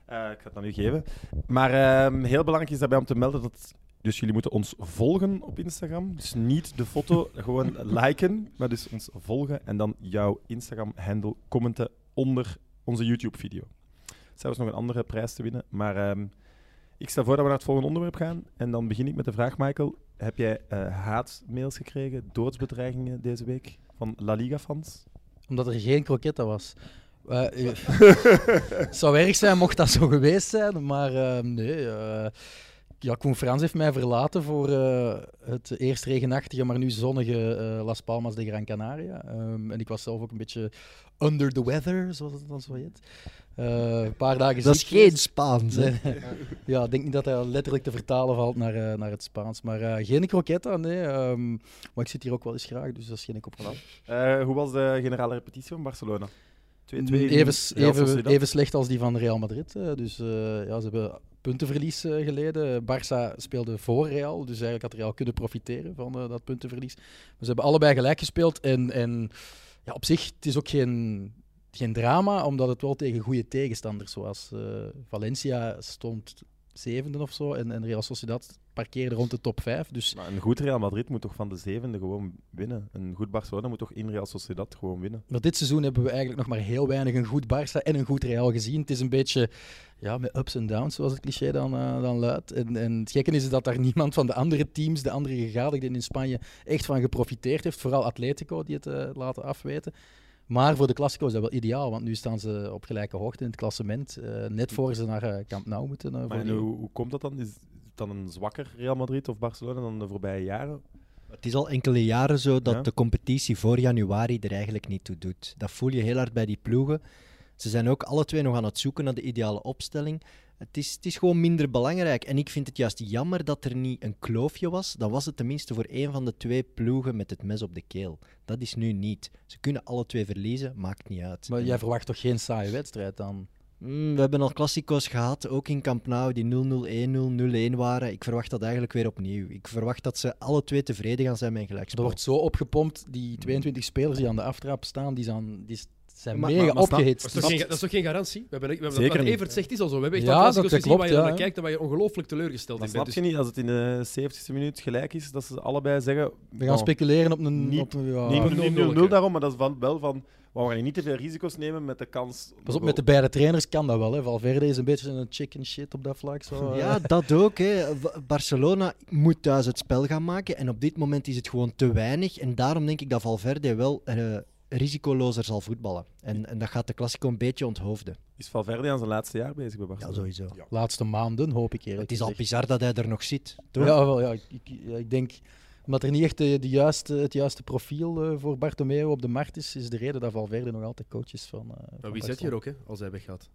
B: Eh, ik ga het dan nu geven. Maar ehm, heel belangrijk is daarbij om te melden dat. Dus jullie moeten ons volgen op Instagram. Dus niet de foto gewoon liken, maar dus ons volgen en dan jouw Instagram-handle commenten onder onze YouTube-video. Zelfs nog een andere prijs te winnen. Maar ehm, ik stel voor dat we naar het volgende onderwerp gaan. En dan begin ik met de vraag, Michael. Heb jij eh, haatmails gekregen, doodsbedreigingen deze week van La Liga-fans?
D: Omdat er geen croquetta was. Eh, eh, het zou erg zijn mocht dat zo geweest zijn, maar eh, nee. eh, ja, Koen Frans heeft mij verlaten voor eh, het eerst regenachtige, maar nu zonnige eh, Las Palmas de Gran Canaria. Ehm, en ik was zelf ook een beetje under the weather, zoals het dan zo heet. Eh, een paar dagen
C: Dat
D: ziek
C: is geen Spaans. Hè?
D: Nee. ja, ik denk niet dat hij letterlijk te vertalen valt naar, eh, naar het Spaans. Maar eh, geen croquetta, nee. ehm, maar ik zit hier ook wel eens graag, dus dat is geen kopje.
B: Eh, hoe was de generale repetitie van Barcelona? 2-2 in
D: Mm, Even,
B: Real
D: even,
B: Sociedad.
D: even slecht als die van Real Madrid. eh, dus eh, ja, ze hebben puntenverlies eh, geleden. Barça speelde voor Real, dus eigenlijk had Real kunnen profiteren van eh, dat puntenverlies. Maar ze hebben allebei gelijk gespeeld. En, en ja, op zich, het is ook geen, geen drama, omdat het wel tegen goede tegenstanders was. Eh Valencia stond zevende of zo en, en Real Sociedad parkeerde rond de top 5. Dus
B: Maar een goed Real Madrid moet toch van de zevende gewoon winnen. Een goed Barcelona moet toch in Real Sociedad gewoon winnen.
D: maar dit seizoen hebben we eigenlijk nog maar heel weinig een goed Barça en een goed Real gezien. Het is een beetje ja, met ups en downs, zoals het cliché dan, eh, dan luidt. En, en het gekke is dat daar niemand van de andere teams, de andere gegadigden in Spanje, echt van geprofiteerd heeft. Vooral Atletico, die het eh, laten afweten. Maar voor de Classico is dat wel ideaal, want nu staan ze op gelijke hoogte in het klassement. eh, net voor ze naar eh, Camp Nou moeten. eh, voor
B: Maar en
D: die-
B: hoe, hoe komt dat dan? Is het dan een zwakker Real Madrid of Barcelona dan de voorbije jaren?
C: Het is al enkele jaren zo dat
B: Ja.
C: de competitie voor januari er eigenlijk niet toe doet. Dat voel je heel hard bij die ploegen. Ze zijn ook alle twee nog aan het zoeken naar de ideale opstelling. Het is, het is gewoon minder belangrijk. En ik vind het juist jammer dat er niet een kloofje was. Dan was het tenminste voor één van de twee ploegen met het mes op de keel. Dat is nu niet. Ze kunnen alle twee verliezen, maakt niet uit.
D: Maar
C: En-
D: jij verwacht toch geen saaie wedstrijd dan?
C: Mm, we hebben al klassico's gehad, ook in Camp Nou, die 0-0, 1-0, 0-1 waren. Ik verwacht dat eigenlijk weer opnieuw. Ik verwacht dat ze alle twee tevreden gaan zijn met een
D: Er
C: gelijkspel.
B: Oh.
D: wordt zo opgepompt, die 22 spelers die aan de aftrap staan, die zijn, die zijn
C: Maar-
D: mega
B: maar- maar snap-
A: Dat
D: opgehitst.
A: is, toch
D: Dus-
A: geen, dat is toch geen garantie? We hebben, we hebben
B: Zeker
A: wat
B: niet.
A: Evert zegt is al zo. We hebben echt
D: Ja,
A: al klassico's
D: dat- dat
A: gezien waar je
D: klopt,
A: naar
D: ja.
A: kijkt en waar je ongelooflijk teleurgesteld
B: Dan
A: in bent. Dus-
B: snap je niet als het in de 70ste minuut gelijk is, dat ze allebei zeggen... oh,
D: we
C: Oh.
D: gaan Ah, speculeren op een...
B: Niet-
D: op een- ja.
A: niet-
B: Niet 0-0
A: 0-0
B: daarom, maar dat is van, wel van... We gaan hier niet te veel risico's nemen met de kans...
D: Pas op, met de beide trainers kan dat wel. Hè. Valverde is een beetje een chicken shit op dat vlak. Zo, eh.
C: Ja, dat ook. Hè. V- Barcelona moet thuis het spel gaan maken. En op dit moment is het gewoon te weinig. En daarom denk ik dat Valverde wel eh, risicolozer zal voetballen. En, en dat gaat de Classico een beetje onthoofden.
B: Is Valverde aan zijn laatste jaar bezig bij
C: Ja,
B: Barcelona?
C: sowieso.
D: Laatste maanden, hoop ik eerlijk
C: Het is al
D: gezegd.
C: bizar dat hij er nog zit. Toch?
D: Ja, wel, ja, ik, ik, ja, ik denk... Omdat er niet echt de, de juiste, het juiste profiel eh, voor Bartomeu op de markt is, is de reden dat Valverde nog altijd coach is van... eh, van
A: Maar Nou, wie zet
D: Barcelona.
A: je er ook, hè, als hij weggaat?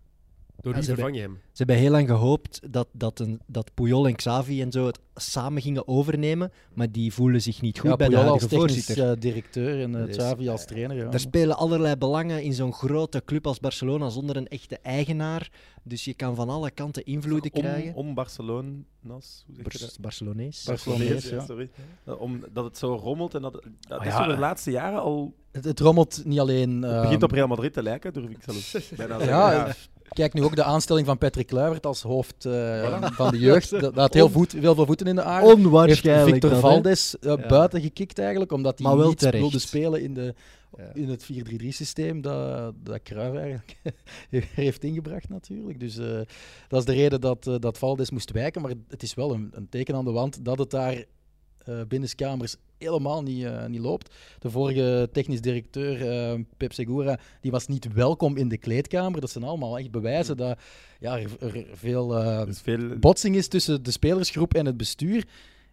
A: Door
C: Ja,
A: wie
C: ze
A: vervang je hem?
C: Ze hebben heel lang gehoopt dat, dat, een, dat Puyol en Xavi en zo het samen gingen overnemen. Maar die voelen zich niet goed
D: ja,
C: bij de
D: Puyol
C: huidige
D: als technisch
C: voorzitter.
D: eh, directeur en eh,
C: Dus,
D: Xavi als trainer. Ja.
C: Er spelen allerlei belangen in zo'n grote club als Barcelona zonder een echte eigenaar. Dus je kan van alle kanten invloeden krijgen.
B: Om, om Barcelona's, hoe zeg je dat?
C: Bars- Barcelonees.
D: Barcelona's, ja.
B: sorry. Eh, Omdat het zo rommelt en dat... Dat, dat
D: Ah,
B: is
D: ja.
B: zo de laatste jaren al...
D: Het, het rommelt niet alleen.
B: Het
D: ehm,
B: begint op Real Madrid te lijken, durf ik zelfs bijna te
D: Ja,
B: zeggen.
D: ja. Kijk nu ook de aanstelling van Patrick Kluivert als hoofd eh, van de jeugd. Dat, dat had heel, voet, heel veel voeten in de aarde. Heeft
C: Onwaarschijnlijk.
D: Victor
C: dat, hè.
D: Valdes eh,
C: Ja.
D: buiten gekikt eigenlijk, omdat hij
C: Maar wel
D: niet
C: terecht.
D: wilde spelen in, de,
C: Ja.
D: in het 4-3-3-systeem dat, dat Cruijff eigenlijk heeft ingebracht natuurlijk. Dus eh, dat is de reden dat, eh, dat Valdes moest wijken. Maar het is wel een, een teken aan de wand dat het daar eh binnenskamers helemaal niet, eh, niet loopt. De vorige technisch directeur, eh, Pep Segura, die was niet welkom in de kleedkamer. Dat zijn allemaal echt bewijzen
C: Hm.
D: dat ja, er, er veel... eh,
B: Dus veel...
D: botsing is tussen de spelersgroep en het bestuur.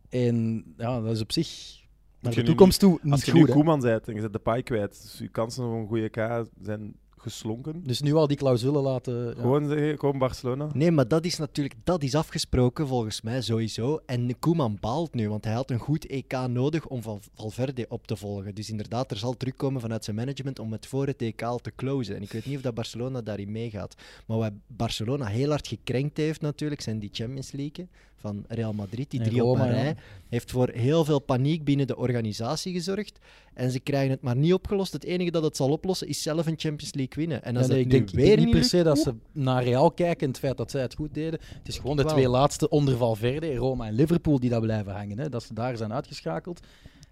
D: En ja, dat is op zich naar
B: je
D: de
B: nu
D: toekomst toe
B: Als
D: niet
B: je
D: goed.
B: nu
D: hè.
B: Koeman bent en je zet de paai kwijt, dus je kansen op een goede K zijn geslonken.
D: Dus nu al die clausule laten. Ja.
B: Gewoon zeggen, kom Barcelona.
C: Nee, maar dat is natuurlijk dat is afgesproken volgens mij sowieso. En Koeman baalt nu, want hij had een goed EK nodig om van Valverde op te volgen. Dus inderdaad, er zal druk komen vanuit zijn management om het voor het EK al te closen. En ik weet niet of dat Barcelona daarin meegaat. Maar wat Barcelona heel hard gekrenkt heeft natuurlijk, zijn die Champions League van Real Madrid, die
D: En
C: drie op
D: Roma,
C: een
D: ja.
C: rij. Heeft voor heel veel paniek binnen de organisatie gezorgd. En ze krijgen het maar niet opgelost. Het enige dat het zal oplossen is zelf een Champions League winnen. En
D: Ja,
C: als
D: nee,
C: dat
D: ik
C: nu
D: denk ik
C: weer
D: denk niet
C: niet
D: per
C: lukt,
D: se dat ze naar Real kijken en het feit dat zij het goed deden. Het is gewoon de
C: Wel.
D: twee laatste onder Valverde, Roma en Liverpool, die dat blijven hangen. Hè. Dat ze daar zijn uitgeschakeld.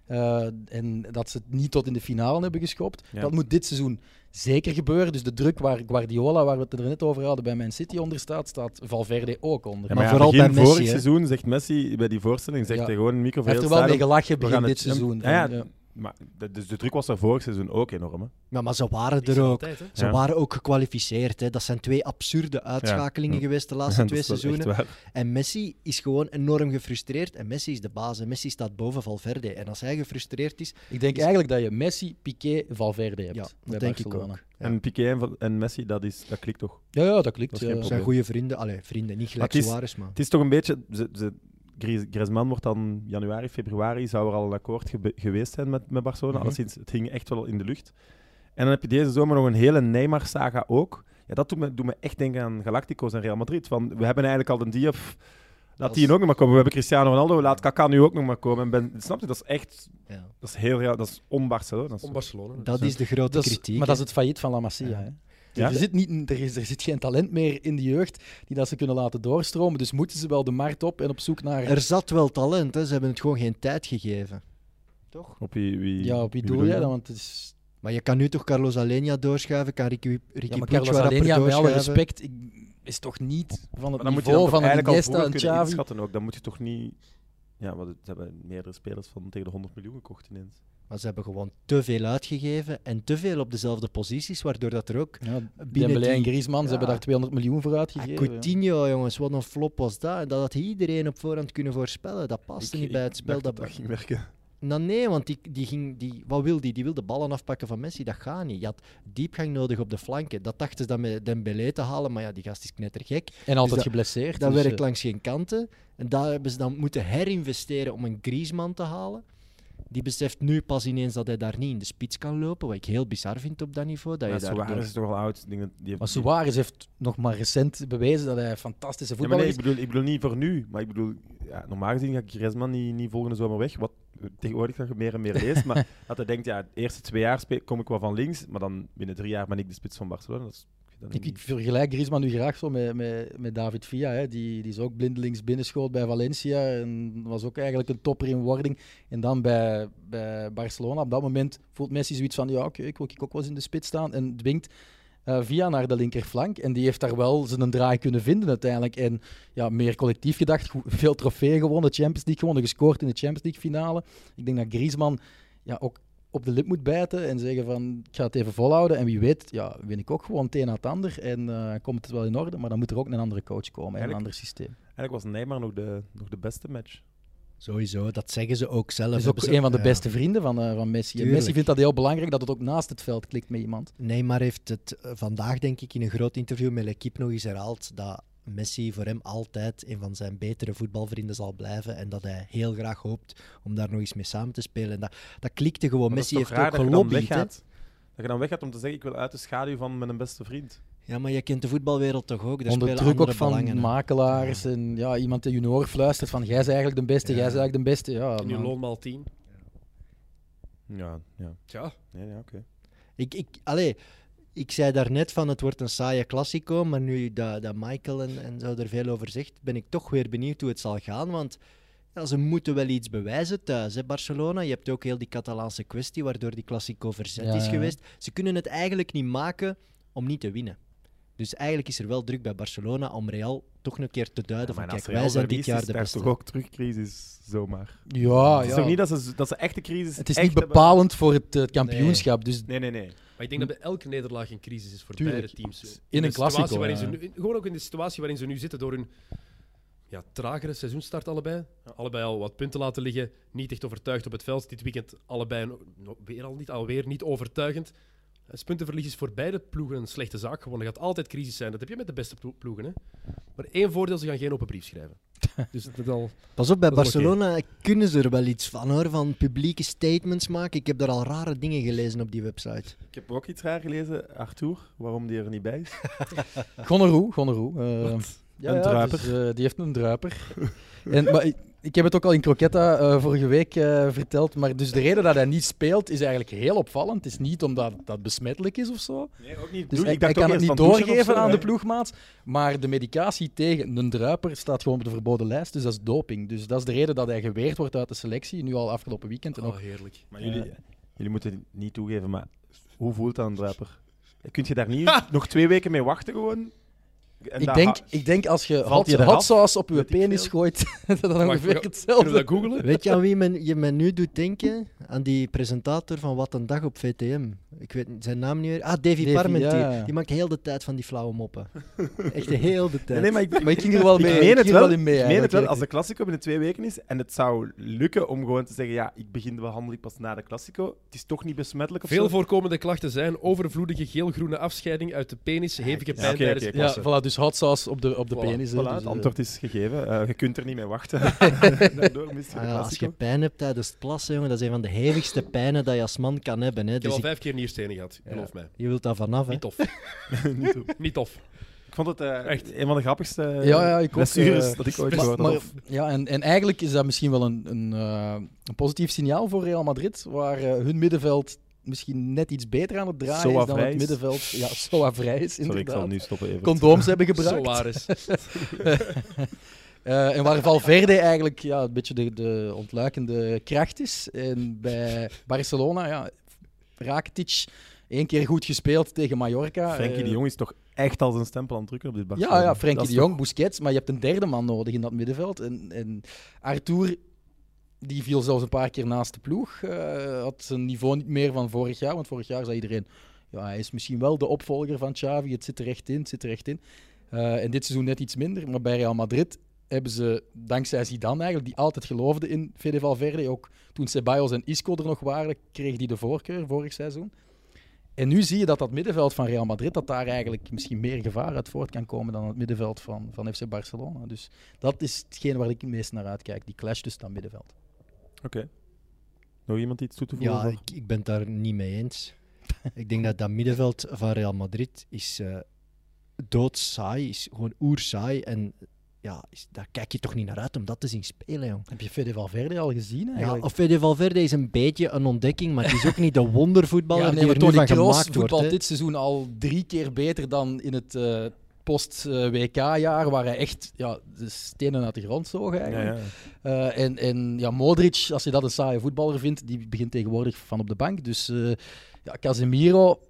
D: Eh, en dat ze het niet tot in de finale hebben geschopt.
B: Ja.
D: Dat moet dit seizoen zeker gebeuren. Dus de druk waar Guardiola, waar we het er net over hadden, bij Man City onder staat, staat Valverde ook onder.
C: Ja, maar vooral
B: begin
C: bij Messi,
B: vorig
C: hè.
B: seizoen zegt Messi bij die voorstelling zegt
D: Ja.
B: hij gewoon in micro
D: Hij heeft er wel mee gelachen begin dit seizoen.
B: Ja,
D: Van, ja.
B: Maar de, dus de druk was er vorig seizoen ook enorm. Hè?
C: Ja, maar ze waren
A: Die is
C: er ook.
A: altijd, hè.
C: Ze
B: Ja.
C: waren ook gekwalificeerd. Hè. Dat zijn twee absurde uitschakelingen
B: Ja.
C: geweest de laatste
B: Dat
C: twee
B: is wel echt
C: seizoenen.
B: waar.
C: En Messi is gewoon enorm gefrustreerd. En Messi is de baas. En Messi staat boven Valverde. En als hij gefrustreerd is,
D: eh, Ik denk eigenlijk dat je Messi, Piqué, Valverde hebt.
C: Ja,
D: bij
C: dat denk ik
D: Barcelona.
C: ook.
B: En Piqué en, Van- en Messi, dat, is, dat klikt toch.
D: Ja, ja, dat Eh, klikt.
B: Dat is geen
D: ja.
B: probleem.
C: zijn goede vrienden. Allee, vrienden, niet gelijk
B: Maar het is-
C: Suarez, maar...
B: Het is toch een beetje... Ze, ze, Gries- Griezmann wordt dan januari, februari, zou er al een akkoord gebe- geweest zijn met, met Barcelona.
D: Mhm.
B: Alleszins, het hing echt wel in de lucht. En dan heb je deze zomer nog een hele Neymar-saga ook. Ja, dat doet me, doet me echt denken aan Galactico's en Real Madrid. Van, we hebben eigenlijk al een Diop, laat die
C: Als-
B: ook nog maar komen. We hebben Cristiano Ronaldo, laat Kaká nu ook nog maar komen. En ben, snap je, dat is echt...
C: Ja.
B: Dat is heel Real, dat is on-Barcelona.
A: Om Barcelona.
C: Dat is de grote
D: Dat is-
C: kritiek.
D: maar dat
C: hè.
D: is het failliet van La Masia.
C: Ja.
D: Hè?
B: Ja.
D: Er, zit niet, een- er, is, er zit geen talent meer in de jeugd die dat ze kunnen laten doorstromen. Dus moeten ze wel de markt op en op zoek naar...
C: Er zat wel talent, hè. ze hebben het gewoon geen tijd gegeven. Toch?
B: Op wie, wie,
D: ja, op wie
B: bedoel
D: doel jij
B: je
D: dan? Want het is...
C: Maar je kan nu toch Carlos Alenia doorschuiven, kan Ricky,
D: Ja,
C: Ricky
D: maar
C: Puig
D: Carlos
C: wat rapper
D: Alenia, met alle
C: doorschuiven.
D: respect, ik, is toch niet van het
B: Maar dan moet je
D: niveau
B: dan
D: van
B: van
D: een
B: eigenlijk al
D: Iniesta
B: vroeger
D: en
B: kunnen
D: Xavi.
B: inschatten ook. Dan moet je toch niet... Ja, want het ze hebben meerdere spelers van tegen de 100 miljoen gekocht ineens.
C: Maar ze hebben gewoon te veel uitgegeven en te veel op dezelfde posities, waardoor dat er ook...
D: Ja,
C: binnen
D: Dembélé en
C: die-
D: Griezmann, ze
B: Ja.
D: hebben daar 200 miljoen voor
C: Ah,
D: uitgegeven. ja.
C: Coutinho, jongens, wat een flop was dat. En Dat had iedereen op voorhand kunnen voorspellen. Dat paste niet bij het spel.
B: dacht
C: Dat...
B: dat dat ging werken.
C: Nou, nee, want die, die ging, die, wat wil die? Die wil de ballen afpakken van Messi. Dat gaat niet. Je had diepgang nodig op de flanken. Dat dachten ze dan met Dembélé te halen, maar ja, die gast is knettergek.
D: En altijd
C: dat-
D: geblesseerd.
C: Dat
D: dus,
C: werkt
D: eh,
C: langs geen kanten. En daar hebben ze dan moeten herinvesteren om een Griezmann te halen. Die beseft nu pas ineens dat hij daar niet in de spits kan lopen. Wat ik heel bizar vind op dat niveau. Dat
B: Ja,
C: je daar
B: Suarez is toch al oud. Ik denk dat die heeft-
D: Maar
B: die-
D: Suarez heeft nog maar recent bewezen dat hij een fantastische
B: Ja, maar
D: voetballer
B: nee,
D: is.
B: ik bedoel, ik bedoel niet voor nu, maar ik bedoel, ja, normaal gezien ga ik Griezmann niet, niet volgende zomer weg. Wat eh, tegenwoordig dat je meer en meer leest, maar dat hij denkt, ja, de eerste twee jaar spe- kom ik wel van links, maar dan binnen drie jaar ben ik de spits van Barcelona. Dat is, ik vind dat
D: Ik, ik
B: niet-
D: vergelijk Griezmann nu graag zo met, met, met David Villa. Hè. Die, die is ook blindelings binnenschoot bij Valencia. En was ook eigenlijk een topper in wording. En dan bij, bij Barcelona. Op dat moment voelt Messi zoiets van... Ja, oké, ik wil ik ook wel eens in de spits staan. En dwingt eh Villa naar de linkerflank. En die heeft daar wel zijn draai kunnen vinden uiteindelijk. En ja, meer collectief gedacht. goed- Veel trofeeën gewonnen. Champions League gewonnen. Gescoord in de Champions League finale. Ik denk dat Griezmann ja, ook op de lip moet bijten en zeggen van ik ga het even volhouden. En wie weet, ja, win ik ook gewoon het een na het ander en eh, komt het wel in orde. Maar dan moet er ook een andere coach komen en een
B: Eigenlijk-
D: ander systeem.
B: Eigenlijk was Neymar nog de, nog de beste match.
C: Sowieso, dat zeggen ze ook zelf.
D: Dat is
C: Hebben
D: Dus ook
C: ze-
D: een van de
C: ja.
D: beste vrienden van, eh, van Messi. En
C: Tuurlijk.
D: Messi vindt dat heel belangrijk dat het ook naast het veld klikt met iemand.
C: Neymar heeft het eh, vandaag, denk ik, in een groot interview met L'Equipe nog eens herhaald dat Messi voor hem altijd een van zijn betere voetbalvrienden zal blijven en dat hij heel graag hoopt om daar nog eens mee samen te spelen. En dat, dat klikte gewoon.
B: Maar
C: Messi
B: dat is
C: heeft
B: toch raar
C: ook
B: dat je dan
C: gelobbyd. hè.
B: weggaat. Dat je dan weggaat om te zeggen, ik wil uit de schaduw van mijn beste vriend.
C: Ja, maar je kent de voetbalwereld toch ook? Daar
D: Onder
C: spelen
D: druk ook
C: andere
D: van
C: belangen, hè.
D: makelaars en ja, iemand die junior fluistert van jij is eigenlijk de beste,
C: Ja.
D: jij is eigenlijk de beste. Ja,
A: Nu
D: man.
A: loon maal 10.
B: Ja, ja.
A: Tja,
B: Nee, ja, oké.
C: Ik, ik, allee, ik zei daarnet van het wordt een saaie klassico, maar nu dat, dat Michael en, en zo er veel over zegt, ben ik toch weer benieuwd hoe het zal gaan. Want ja, ze moeten wel iets bewijzen thuis, hè, Barcelona. Je hebt ook heel die Catalaanse kwestie, waardoor die klassico verzet
D: Ja,
C: is
D: ja.
C: geweest. Ze kunnen het eigenlijk niet maken om niet te winnen. Dus eigenlijk is er wel druk bij Barcelona om Real toch een keer te duiden
B: Maar
C: van
B: als
C: kijk,
B: Real
C: wij zijn
B: verliest,
C: dit jaar
B: is
C: de
B: daar
C: beste.
B: toch ook terug crisis, zomaar.
D: Ja,
B: Het is
D: Ah, ja.
B: toch niet dat ze, dat ze echte crisis
D: het is
B: echt
D: niet
B: hebben?
D: bepalend voor het eh, kampioenschap. Dus
B: Nee, nee, nee.
A: maar ik denk dat bij elke nederlaag een crisis is voor
D: Tuurlijk.
A: beide teams.
D: In
A: de
D: een Clasico,
A: situatie waarin
D: ja.
A: ze nu, in- Gewoon ook in de situatie waarin ze nu zitten door hun ja, tragere seizoenstart allebei. Allebei al wat punten laten liggen. Niet echt overtuigd op het veld. Dit weekend allebei een- no- weer al niet, alweer niet overtuigend. Dus puntenverlies is voor beide ploegen een slechte zaak. Gewoon, er gaat altijd crisis zijn. Dat heb je met de beste plo- ploegen. Hè? Maar één voordeel, ze gaan geen open brief schrijven. Dus dat is al...
C: Pas op, bij
A: Dat is oké.
C: Barcelona kunnen ze er wel iets van hoor, van publieke statements maken. Ik heb daar al rare dingen gelezen op die website.
B: Ik heb ook iets raar gelezen, Arthur, waarom die er niet bij is.
D: Gonorroe, Gonorroe. eh, ja,
B: Een
D: ja,
B: druiper.
D: dus, eh, die heeft een druiper. en, maar, ik- ik heb het ook al in Croquetta eh, vorige week eh, verteld. Maar dus de reden dat hij niet speelt is eigenlijk heel opvallend. Het is niet omdat dat besmettelijk is of zo.
B: Nee, ook niet.
D: Dus
B: Doe-
D: hij,
B: ik dacht
D: hij
B: ook
D: kan het
B: eerst
D: niet
B: van douchen of
D: doorgeven
B: zo,
D: aan
B: hè.
D: de ploegmaat. Maar de medicatie tegen een druiper staat gewoon op de verboden lijst. Dus dat is doping. Dus dat is de reden dat hij geweerd wordt uit de selectie. Nu al afgelopen weekend. En
A: Oh,
D: ook,
A: heerlijk.
B: Maar jullie, jullie moeten niet toegeven, maar hoe voelt dat een druiper? Kun je daar niet nog twee weken mee wachten gewoon? En
D: ik,
B: daar
D: denk,
B: ha-
D: ik denk als je
B: Valt
D: hot,
B: hij eraf?
D: hot sauce op je
B: Weet ik
D: penis
B: veel.
D: gooit, dat dat
A: Wacht,
D: ongeveer
A: kunnen
D: hetzelfde
A: Kunnen we dat googlen?
C: Weet je aan wie men, je me nu doet denken? Aan die presentator van Wat een Dag op VTM. Ik weet niet- zijn naam niet meer. Ah, Davy,
D: Davy,
C: Parmentier.
D: ja.
C: Die maakt heel de tijd van die flauwe moppen. Echt de hele tijd.
B: Nee, nee, maar ik,
D: Maar ik ging er wel
B: ik
D: mee.
B: meen het
D: ging
B: wel.
D: er in mee,
B: ik meen het
D: eigenlijk,
B: wel.
D: ja.
B: Als de Classico binnen twee weken is en het zou lukken om gewoon te zeggen: ja, ik begin de behandeling pas na de Classico. Het is toch niet besmettelijk of
A: Veel
B: zo?
A: voorkomende klachten zijn overvloedige geel-groene afscheiding uit de penis, hevige
B: oké,
A: pijn
B: oké,
A: tijdens
B: oké,
A: het
D: Ja,
A: plassen.
D: voilà, dus hot sauce op de, op de
A: Voilà,
D: penis.
B: Voilà,
D: hè, dus,
B: het
D: eh,
B: antwoord is gegeven. Eh, je kunt er niet mee wachten. Daardoor mist je
C: Ah
B: de
C: ja, als je
B: Classico.
C: pijn hebt tijdens het plassen, jongen, dat is een van de hevigste pijnen dat je als man kan hebben. Hè.
A: Ik heb
C: Dus
A: al
C: ik-
A: vijf keer nierstenen gehad, geloof mij.
C: je wilt daar vanaf. Hè.
A: Niet tof. Niet tof.
B: Ik vond het eh,
A: Echt.
B: een van de grappigste
D: Ja, ja, ik ook,
B: blessures
D: eh,
B: dat ik ooit
A: maar-
B: gehoord
D: maar-
B: had.
D: ja, en, en eigenlijk is dat misschien wel een, een, eh, een positief signaal voor Real Madrid, waar eh, hun middenveld misschien net iets beter aan het draaien
B: Soa
D: is dan
B: vrij
D: het
B: is.
D: middenveld. Ja, Soa vrij is
B: Sorry, ik
D: inderdaad.
B: zal nu stoppen even.
D: Condooms hebben
A: Zo
D: gebruikt.
A: waar is.
D: Eh, en waar Valverde eigenlijk ja, een beetje de, de ontluikende kracht is. En bij Barcelona, ja, Rakitic, één keer goed gespeeld tegen Mallorca.
B: Frenkie
D: Eh,
B: de Jong is toch echt al zijn stempel aan het drukken op dit Barcelona.
D: Ja, ja
B: Dat
D: Frenkie
B: is
D: de Jong, Busquets, maar je hebt een derde man nodig in dat middenveld. En, en Arthur, die viel zelfs een paar keer naast de ploeg, eh, had zijn niveau niet meer van vorig jaar. Want vorig jaar zei iedereen, ja, hij is misschien wel de opvolger van Xavi, het zit er echt in, het zit er echt in. Eh, en dit seizoen net iets minder, maar bij Real Madrid hebben ze, dankzij Zidane eigenlijk, die altijd geloofde in Fede Valverde, ook toen Ceballos en Isco er nog waren, kreeg die de voorkeur vorig seizoen. En nu zie je dat dat middenveld van Real Madrid, dat daar eigenlijk misschien meer gevaar uit voort kan komen dan het middenveld van, van FC Barcelona. Dus dat is hetgeen waar ik het meest naar uitkijk, die clash tussen dat middenveld.
B: toch- Oké. Nog iemand iets toe te voegen?
C: Ja,
B: over?
C: ik, ik ben het daar niet mee eens. ik denk dat dat middenveld van Real Madrid is eh doodsaai, is gewoon oersaai. En ja, is, daar kijk je toch niet naar uit om dat te zien spelen, jong.
D: Heb je Fede Valverde al gezien
C: Ja,
D: eigenlijk?
C: of Fede Valverde is een beetje een ontdekking, maar het is ook niet de wondervoetballer
D: Ja,
C: die
D: maar
C: er nu
D: Toni
C: van
D: Kroos
C: gemaakt wordt.
D: voetbalt
C: hè.
D: dit seizoen al drie keer beter dan in het eh, post-WK-jaar, waar hij echt ja, de stenen uit de grond zoog
B: Ja,
D: eigenlijk.
B: ja.
D: Eh, en en ja, Modric, als je dat een saaie voetballer vindt, die begint tegenwoordig van op de bank. Dus eh, ja, Casemiro,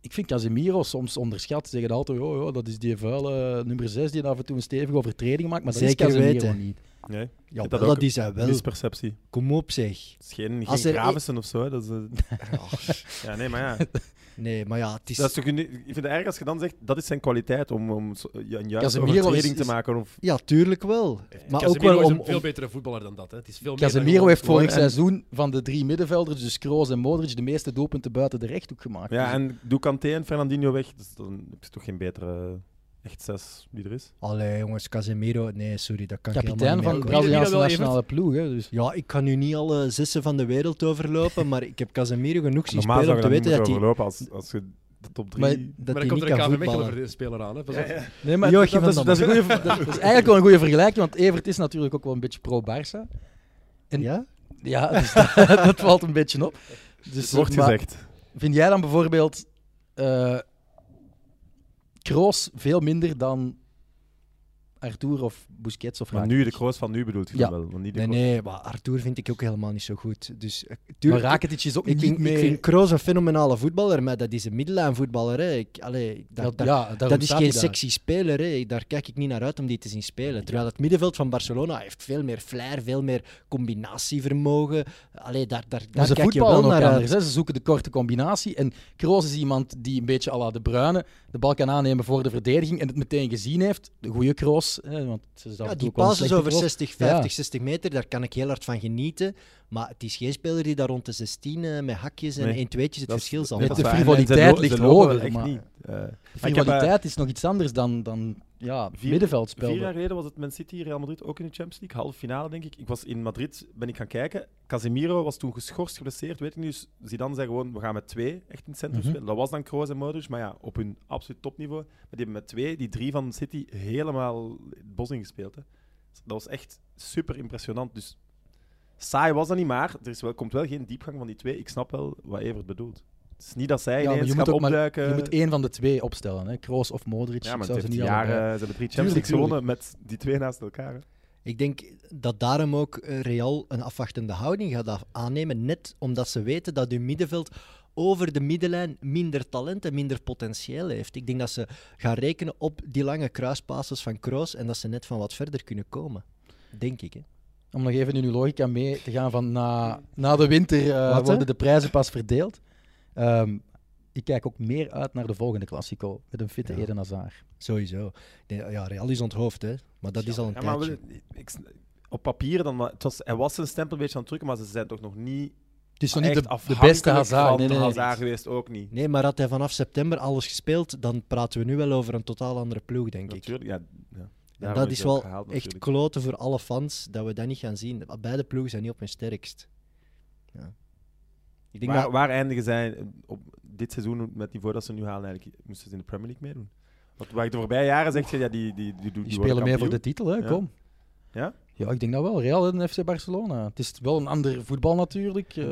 D: ik vind Casemiro soms onderschat. Ze zeggen altijd, oh, ja, dat is die vuile eh, nummer 6 die af en toe een stevige overtreding maakt. Maar dat
C: Zeker
D: is Casemiro
C: weten.
D: niet.
B: Nee,
C: Ja,
B: dat
C: dat,
B: ook-
C: dat is hij wel.
B: misperceptie.
C: Kom op, zeg.
B: Het is geen, geen
C: Als er e-
B: Gravesen of zo. hè. Dat is, eh, ja, nee, maar ja.
C: Nee, maar ja, het is...
B: Dat is toch een- ik vind het erg als je dan zegt, dat is zijn kwaliteit om, om zo- ja, een juiste
D: Casemiro is-
B: overtreding
D: is-
B: te maken. Of,
C: Ja, tuurlijk wel. Maar ook
A: Casemiro
C: wel
A: is
C: om...
A: een veel
C: om-
A: betere voetballer dan dat. Hè. Het is veel meer dan
D: Casemiro
A: gewoon-
D: heeft vorig
B: en-
D: seizoen van de drie middenvelders, dus Kroos en Modric, de meeste doelpunten buiten de rechthoek gemaakt.
B: ja,
D: Dus
B: en doe Kanté en Fernandinho weg, dus dan heb je toch geen betere eh, echt zes die er is.
C: Allee, jongens, Casemiro... Nee, sorry, dat kan ik helemaal
D: kapitein
C: niet
D: van
C: meer
D: de
A: Brazil-
D: Braziliaanse
A: Wie dat wel,
D: nationale ploeg. Hè, dus.
C: Ja, ik kan nu niet alle zessen van de wereld overlopen, maar ik heb Casemiro genoeg zien
B: Normaal
C: spelen
B: zou
C: om
B: je
C: te
B: dat niet
C: weten
B: moeten
C: dat
B: overlopen
C: hij
B: als, als je de top drie...
C: maar
A: Maar
C: dat
A: dan
C: hij
A: komt
C: niet
A: er een
C: kan
A: KV Mechelen voor
C: voetballen.
A: de speler aan. Hè. Pas op.
D: Nee,
C: maar Joachim
D: dat,
C: van
D: dat is,
C: Damme.
D: dat is een goeie- dat is eigenlijk wel een goede vergelijking, want Evert is natuurlijk ook wel een beetje pro-Barça. En
C: Ja?
D: Ja, dus dat, dat valt een beetje op. Dus,
B: Het wordt
D: maar
B: gezegd.
D: Vind jij dan bijvoorbeeld eh Kroos veel minder dan Arthur of Busquets of
B: Maar
D: Rakitic?
B: nu, de Kroos van nu bedoelt je
D: Ja.
B: dan wel. Maar niet de
C: Nee,
B: Kroos-
C: nee, maar Arthur vind ik ook helemaal niet zo goed. Dus, eh,
D: Maar
C: tuurlijk,
D: Rakitic is ook
C: ik,
D: niet
C: vind,
D: meer...
C: ik vind Kroos een fenomenale voetballer, maar dat is een middellijnvoetballer. Hè. Ik, allee, ik- dat, dat,
D: ja, daarom
C: dat is
D: staat
C: geen
D: hij daar.
C: sexy speler. Hè. Ik- Daar kijk ik niet naar uit om die te zien spelen. Terwijl het middenveld van Barcelona heeft veel meer flair, veel meer combinatievermogen. Allee, daar, daar,
D: Maar
C: daar
D: ze
C: kijk je wel
D: voetballen ook
C: naar
D: anders.
C: uit.
D: Hè. Ze zoeken de korte combinatie. En Kroos is iemand die een beetje à la de Bruyne de bal kan aannemen voor de verdediging en het meteen gezien heeft. De goede Kroos. Hè, want ze is af
C: Ja,
D: en toe
C: die
D: ook wel een
C: passes
D: slechte
C: over
D: Kroos.
C: 60, 50, 60 meter, daar kan ik heel hard van genieten. Maar het is geen speler die daar rond de 16 eh, met hakjes en
B: Nee,
C: 1-2'tjes het
B: dat is-
C: verschil zal
B: nee,
D: de
B: dat
C: maken.
B: is waar. En
D: frivoliteit
B: ze lo- ze
D: ligt
B: lopen wel
D: hoger,
B: echt
D: maar-
B: niet. Eh, maar
D: De
B: ik heb, eh,
D: Rivaliteit is nog iets anders dan, dan ja,
B: Vier-
D: middenveldspel.
B: Vier jaar geleden was het Man City, Real Madrid ook in de Champions League. Halve finale, denk ik. Ik was in Madrid, ben ik gaan kijken. Casemiro was toen geschorst, geblesseerd, weet ik niet. Dus Zidane zei gewoon, we gaan met twee echt in het centrum
D: Mhm.
B: spelen. Dat was dan Kroos en Modric, maar ja, op hun absoluut topniveau. Maar die hebben met twee, die drie van City, helemaal het bos ingespeeld. Hè. Dus Dat was echt super impressionant. Dus saai was dat niet, maar er is wel, komt wel geen diepgang van die twee. Ik snap wel wat Evert bedoelt. Het is niet dat zij
D: Ja, maar
B: ineens
D: je moet,
B: gaan
D: ook maar,
B: opduiken.
D: je moet één van de twee opstellen. Hè? Kroos of Modric.
B: ja, maar
D: ik zou
B: het
D: ze
B: heeft
D: niet
B: jaren,
D: allebei-
B: ze hebben drie Champions
D: Tuurlijk,
B: League gewonnen met die twee naast elkaar. hè.
C: Ik denk dat daarom ook eh, Real een afwachtende houding gaat af- aannemen. Net omdat ze weten dat hun middenveld over de middenlijn minder talent en minder potentieel heeft. Ik denk dat ze gaan rekenen op die lange kruispases van Kroos en dat ze net van wat verder kunnen komen. Denk ik. Hè.
D: Om nog even in uw logica mee te gaan van na, na de winter eh,
C: Wat, hè?
D: worden de prijzen pas verdeeld. Ehm, ik kijk ook meer uit naar de volgende Classico met een fitte
C: Ja.
D: Eden Hazard.
C: Sowieso. Ik denk, ja, Real is onthoofd, hè. Maar dat is al een
B: Ja, maar
C: tijdje.
B: we- ik, op papier, dan, het was, hij was zijn stempel een beetje aan het drukken, maar ze zijn toch nog niet
D: Het is nog
B: Ah, echt
D: niet de, de
B: afhankelijk
D: beste Hazard.
B: van
D: Nee, nee,
B: de
D: nee.
B: Hazard geweest, ook niet.
C: Nee, maar had hij vanaf september alles gespeeld, dan praten we nu wel over een totaal andere ploeg, denk ik.
B: Natuurlijk, ja. ja.
C: En
B: Daarom
C: dat is
B: hij ook
C: wel
B: gehaald,
C: echt
B: natuurlijk.
C: kloten voor alle fans dat we dat niet gaan zien. Beide ploegen zijn niet op hun sterkst. Ja. Ik denk
B: Waar,
C: dat
B: waar eindigen zij eh, op dit seizoen met het niveau dat ze nu halen? Eigenlijk moesten ze in de Premier League meedoen. Want waar ik de voorbije jaren zeg, ja, die, die, die, doen
D: Die spelen mee voor de titel, hè?
B: Ja.
D: kom.
B: Ja?
D: Ja, ik denk dat wel. Real en FC Barcelona. Het is wel een ander voetbal natuurlijk. eh,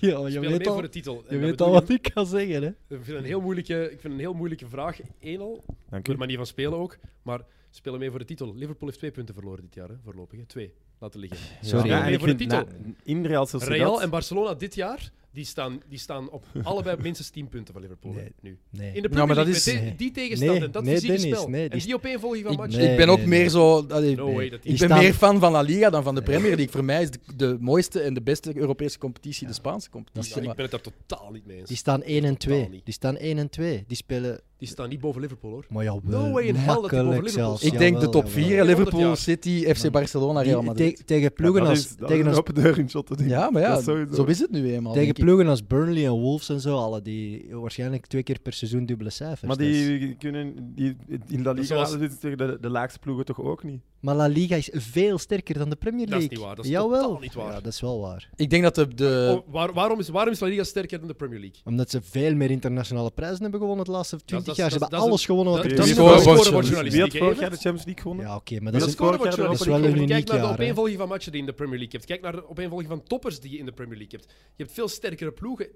C: Ja, je
A: Spelen mee
C: weet
A: voor
C: al,
A: de titel. En
C: je
A: dat
C: weet al
A: bedoel
C: wat ik ga zeggen, hè.
A: Ik vind, het een heel moeilijke, ik vind het een heel moeilijke vraag. Eén al,
B: Dank
A: door
B: u.
A: de manier van spelen ook. Maar spelen mee voor de titel. Liverpool heeft twee punten verloren dit jaar, hè, voorlopig. Hè. Twee laten liggen.
C: Sorry.
A: Ja,
B: Ja,
A: en
B: en
A: mee
B: ik
A: voor de
B: vind
C: nou,
B: na, in Real Sociedad...
A: Real en Barcelona dit jaar, die staan, die staan op allebei minstens tien punten van Liverpool hè,
C: Nee.
A: nu.
C: Nee.
A: In de
D: Ja, maar
A: Premier
D: dat
A: League,
D: is-
A: met die-
C: Nee.
A: die tegenstand en dat
C: Nee,
A: fysieke
C: Dennis,
A: spel.
C: nee,
A: en
C: die-
A: die opeenvolging van
C: Ik-
A: matchen.
C: nee.
D: ik ben ook meer zo. allee,
A: No
D: nee.
A: way dat die-
D: Ik
C: Die
D: ben
C: staan-
D: meer fan van La Liga dan van de Premier League. Voor mij is de, de mooiste en de beste Europese competitie de Spaanse competitie.
A: Ja, ik
D: Maar-
A: ben het daar totaal niet mee eens.
C: Die
A: Die,
C: staan 1 en 2.
A: Totaal niet.
C: Die staan 1 en 2. Die spelen...
A: staan niet boven Liverpool, hoor.
C: Maar ja,
A: No way in hell dat die boven
C: makkelijk
A: Liverpool
C: zelfs.
A: staan.
D: ik denk de top
C: Jawel,
D: 4,
C: jawel.
D: Liverpool,
A: jaar.
D: City, FC
C: Man,
D: Barcelona, Real
C: Die-
D: Madrid.
C: te- tegen ploegen
B: Ja, dat
C: als...
B: is- dat
C: tegen
B: is
C: als
B: een open deur in shot te denken.
D: Ja, maar ja,
B: Dat is sowieso.
D: zo is het nu eenmaal.
C: Tegen
D: denk ik.
C: ploegen als Burnley en Wolves en zo, alle die waarschijnlijk twee keer per seizoen dubbele cijfers.
B: Maar
C: Dus-
B: die kunnen die, in La Liga
A: Zoals-
B: dat is tegen de, de laagste ploegen toch ook niet?
C: maar La Liga is veel sterker dan de Premier
A: Dat is
C: League.
A: niet waar, dat is
C: Jawel.
A: totaal niet waar.
C: Ja, dat is wel waar.
D: Ik denk dat de,
C: Eh.
D: de,
A: Oh, waar- waarom, is, waarom is La Liga sterker dan de Premier League?
C: Omdat ze veel meer internationale prijzen hebben gewonnen de laatste 20
A: dat is-
C: jaar. Ze
A: dat is-
C: hebben
A: dat is
C: alles gewonnen wat
A: dat-
C: er
A: dat
C: te
A: is
C: winnen
D: een
C: was.
D: scoreboard
A: journalistiek,
B: Wie had
A: hè,
B: vorig jaar de
A: Evert?
B: Champions League gewonnen?
C: Ja, oké,
B: Dat
C: maar
A: Dat
C: dat is
A: is
B: is
C: een-
B: vorig
A: scorebord
B: jaar de
A: journalistiek.
C: Europa League.
A: Kijk naar de
C: Uniek jaar, hè.
A: opeenvolging van matchen die je in de Premier League hebt. Kijk naar de opeenvolging van toppers die je in de Premier League hebt. Je hebt veel sterkere ploegen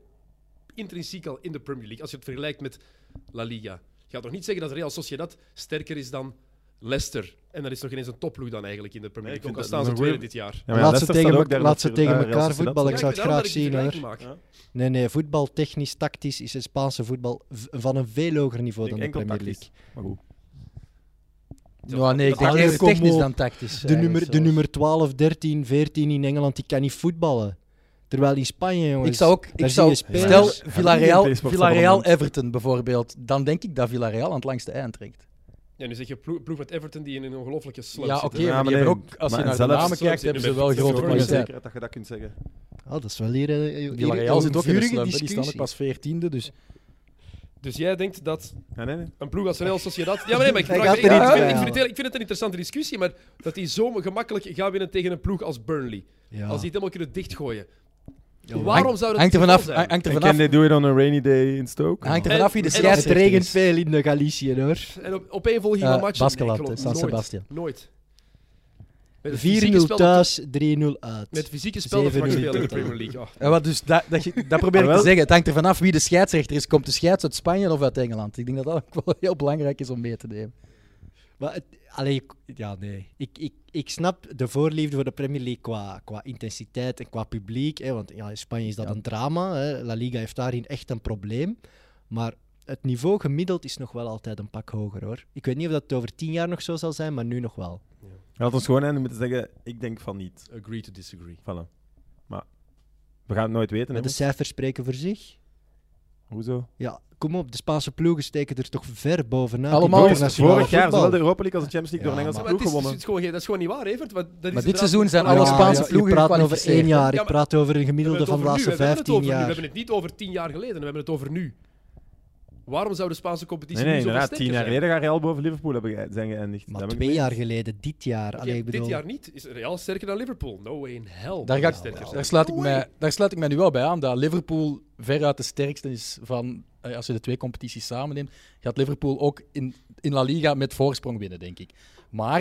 A: intrinsiek al in de Premier League. Als je het vergelijkt met La Liga. Je gaat nog niet zeggen dat Real Sociedad sterker is dan Leicester. En dat is nog ineens een topploeg dan eigenlijk in de Premier
B: Nee, ik
A: League. ook al staan ze
B: vind dat- dat is
A: tweede
B: een
A: dit jaar.
B: Ja,
C: Laat ze
B: Leicester staat
C: tegen
B: ook
C: elk-
B: daar
C: laat ze
B: natuurlijk,
C: tegen
B: eh, Real
C: elkaar
B: Sociedad
C: voetballen,
B: ook.
C: ik zou het
A: daarom dat ik
C: graag
A: die
C: zien,
A: vergelijking maak.
B: Ja.
C: Nee, nee, voetbal, technisch, tactisch is het Spaanse voetbal v- van een veel hoger niveau
B: Ik
C: dan
B: denk
C: de
B: enkel
C: Premier
B: tactisch.
C: League.
B: Maar goed.
D: Nou, nee, ik denk
C: Allee,
D: eerder
C: kom
D: technisch
C: op.
D: dan tactisch.
C: De
D: eigenlijk
C: nummer, de
D: zelfs.
C: nummer 12, 13, 14 in Engeland, die kan niet voetballen. Terwijl in Spanje, jongens...
D: Ik zou ook,
C: daar
D: ik
C: zie
D: zou,
C: je
D: stel
C: spelers-
B: Hebben
D: Villarreal,
B: die een PlayStation
D: Villarreal
B: abonnement?
D: Everton bijvoorbeeld, dan denk ik dat Villarreal aan het langste eind trekt.
A: Ja, nu zeg je ploeg, ploeg met Everton die in een ongelofelijke slump
D: Ja, oké,
A: zitten.
B: Ja,
D: maar,
B: maar
D: die hebben
B: nee,
D: ook, als je
B: maar
D: naar de
B: zelfs-
D: namen
A: zelfs
D: kijkt,
A: in de
D: hebben ze
C: Oh,
D: wel
A: beste
D: grote
A: vorm
B: Ik ben
D: kwaliteit.
B: zeker dat je dat kunt zeggen.
C: Ah, dat is wel hier... eh, hier
D: Villarreal
C: een
D: zit ook in de
C: vurige
D: slump, hè. die staan ook
C: discussie.
D: pas veertiende, dus...
A: Dus jij denkt dat
B: Ja, nee, nee.
A: een ploeg als Real Sociedad... Ja, maar nee, maar ik,
C: Hij
A: vraag-
C: gaat
A: ik,
C: er
A: ik
D: niet
A: vind,
D: bij
A: ik, vind het,
C: halen.
A: heel- ik vind het een interessante discussie, maar dat die zo gemakkelijk gaan winnen tegen een ploeg als Burnley.
C: Ja.
A: Als die het helemaal kunnen dichtgooien.
C: Ja, maar-
A: Waarom zou dat
D: Hangt er
A: het geval
D: vanaf,
A: zijn?
D: hangt er
B: En can they
D: vanaf,
B: do it on a rainy day in Stoke?
D: hangt er
A: En-
D: vanaf wie de
A: en als
C: Het
D: scheidsrechter
C: regent
D: is.
C: veel in de Galicië, hoor.
A: En op, op één volging
D: Eh,
A: van matchen?
D: Baskeland,
A: ik geloof
D: San
A: het
D: Sebastian.
A: Nooit. Met het fysieke
C: 4-0
A: spel dat-
C: thuis, 3-0 uit.
A: Met het fysieke spel dat we
C: 7-0
A: spelen in de
C: totaal.
A: Premier League. Ah.
D: Ja, wat, dus dat, dat, je- dat probeer ik
B: Ah,
D: te
B: wel.
D: zeggen. Het hangt er vanaf wie de scheidsrechter is. Komt de scheids uit Spanje of uit Engeland? Ik denk dat dat ook wel heel belangrijk is om mee te nemen.
C: Maar het, allee, ik- ja, nee. Ik, ik, ik snap de voorliefde voor de Premier League qua, qua intensiteit en qua publiek. Hè, want ja, in Spanje is dat
D: Ja.
C: een drama. Hè. La Liga heeft daarin echt een probleem. Maar het niveau gemiddeld is nog wel altijd een pak hoger hoor. Ik weet niet of dat over tien jaar nog zo zal zijn, maar nu nog wel.
B: Hij had ons gewoon eindigen met te zeggen, ik denk van niet.
A: Agree to disagree.
B: Voilà. Maar we gaan het nooit weten. Hè?
C: Maar de cijfers spreken voor zich.
B: Hoezo?
C: Ja, kom op. De Spaanse ploegen steken er toch ver bovenuit.
D: Allemaal
C: in
D: is
B: Vorig
C: internationaal
B: jaar
C: voetbal.
B: zowel de Europa League als de Champions League door
C: Ja,
B: een Engelse
A: Maar het
B: ploeg
A: is, het is
B: gewonnen.
A: gewoon geen- dat is gewoon niet waar, Evert. Want dat is
D: Maar dit
A: inderdaad-
D: seizoen zijn
A: Ja,
D: alle
A: ja,
D: Spaanse
A: ja.
D: ploegen
C: Ik praat over
D: gekwalificeerd,
C: één
D: hè.
C: jaar.
A: Ja,
C: Ik
A: maar-
C: praat over een
A: We hebben
C: gemiddelde
A: het
C: van de
A: over nu,
C: laatste
A: we hebben het
C: 15
A: over nu, We
C: jaar.
A: hebben het niet over tien jaar geleden, we hebben het over nu. Waarom zou de Spaanse competitie
B: Nee, nee,
A: nu zo
B: inderdaad. Tien jaar
A: zijn?
B: geleden gaat Real boven Liverpool hebben ge- zijn geëindigd. Dat
C: Maar
B: heb ik
C: twee
B: niet.
C: jaar geleden, dit jaar. Allee, Ah, ik
A: Dit
C: bedoel,
A: jaar niet. Is Real sterker dan Liverpool? No way in hell.
D: Daar, ga ik-
A: Sterker zijn.
D: daar, sluit ik
A: No
D: mij,
A: way.
D: daar sluit ik mij nu wel bij aan dat Liverpool veruit de sterkste is van. eh, Als je de twee competities samenneemt, gaat Liverpool ook in, in La Liga met voorsprong winnen, denk ik. Maar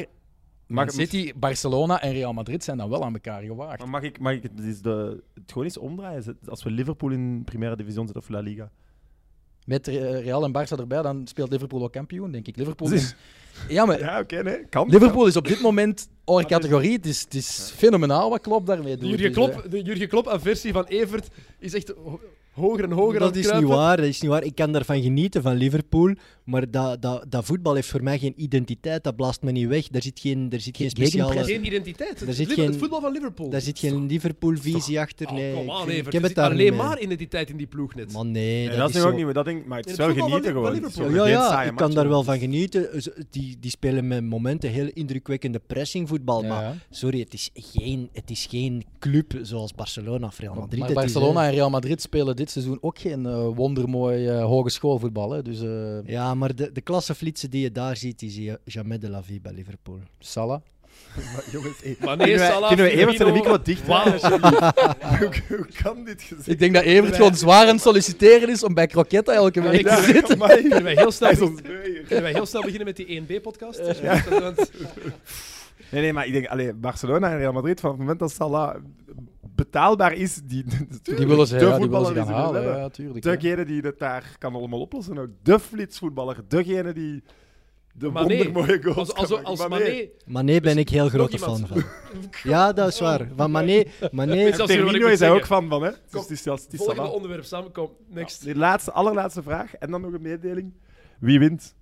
D: Man
B: Mag,
D: City, Barcelona en Real Madrid zijn dan wel aan elkaar gewaagd.
B: maar mag ik, mag ik het, is de, het gewoon eens omdraaien? Zet- Als we Liverpool in Primera Division zetten of La Liga.
D: Met eh, Real en Barça erbij, dan speelt Liverpool ook kampioen, denk ik. Liverpool
B: Zie-
D: is, ja, maar
B: Ja, oké, nee. Kan.
D: Liverpool is op dit moment hors categorie. Het is, het is fenomenaal wat Klopp daarmee
A: De
D: doet.
A: Jurgen
D: Dus, eh,
A: Klopp, de Jurgen Klopp-aversie van Evert is echt ho- hoger en hoger aan
C: dat
A: het
C: is
A: kruipen.
C: niet waar, dat is niet waar. Ik kan daarvan genieten van Liverpool, maar dat, dat, dat voetbal heeft voor mij geen identiteit. Dat blaast me niet weg. Daar zit geen, daar zit geen
D: Geen
C: speciale.
D: gegenpress.
A: Geen identiteit.
C: Daar
A: Het,
C: zit
A: Liver-
C: geen-
A: het voetbal van Liverpool.
C: Daar zit geen Liverpool-visie achter.
A: Oh,
C: Nee,
A: come on,
C: ik, ik
A: Evert. Er
C: heb het
A: zit
C: daar
A: alleen
C: niet mee.
A: maar identiteit in die ploeg net.
C: Maar nee,
B: Nee,
C: dat,
B: dat is nu ook
C: zo-
B: niet meer. Dat denk, maar het is
A: In het
B: wel
A: voetbal van
B: genieten
A: Li- van
B: gewoon. Het is
A: Liverpool.
B: gewoon een
C: Ja, ja,
B: saaie
C: ik kan
B: match,
C: daar
B: hoor.
C: wel van genieten. Ze- Die, die spelen met momenten heel indrukwekkende pressingvoetbal.
D: ja.
C: Maar sorry, het is, geen, het is geen club zoals Barcelona of Real Madrid.
D: Maar
C: het Oh, is, eh, hè.
D: Barcelona en Real Madrid spelen dit seizoen ook geen eh, wondermooi eh hogeschoolvoetbal. Hè? Dus eh
C: Ja, maar de, de klasseflitsen die je daar ziet, die zie je jamais de la vie bij Liverpool.
D: Salah.
A: Maar nee,
B: Kunnen wij-
A: Salah,
B: Kunnen we even de
A: Firmino-
B: micro wat dichter?
A: Wauw.
B: Hoe- Hoe kan dit gezegd
D: Ik denk dat Evert gewoon zwaar aan het solliciteren is om bij Croquetta elke
A: Ja,
D: week
A: ik-
D: te zitten.
A: Kunnen wij heel snel,
B: Hij is ons
A: kunnen
B: beu.
A: wij heel snel beginnen met die E 1B-podcast?
B: Nee, nee, maar ik denk, allee, Barcelona en Real Madrid, van het moment dat Salah betaalbaar is, die,
D: Die willen ze,
B: de
D: ja, die willen
B: voetballer
D: ze
B: die
D: gaan
B: ze willen
D: halen.
B: hebben.
D: Ja, tuurlijk,
A: eh,
D: ja.
B: Degene die het daar kan allemaal oplossen ook. De flitsvoetballer. Degene die de
A: Maar nee,
B: wondermooie goals
A: Als, als,
B: kan maken.
A: als
B: Maar nee,
A: Mané...
C: Mané ben ik heel grote
A: nog
C: fan
A: iemand.
C: van. Ja, dat is waar. Van Mané, Mané
A: Zelfs hier wat ik
B: Firmino
A: moet
B: is hij ook
A: zeggen.
B: fan van, hè? Dus het is, zelfs- het is
A: Volgende
B: allemaal-
A: onderwerp samenkomt. Next.
B: Die laatste, allerlaatste vraag. En dan nog een mededeling. Wie wint?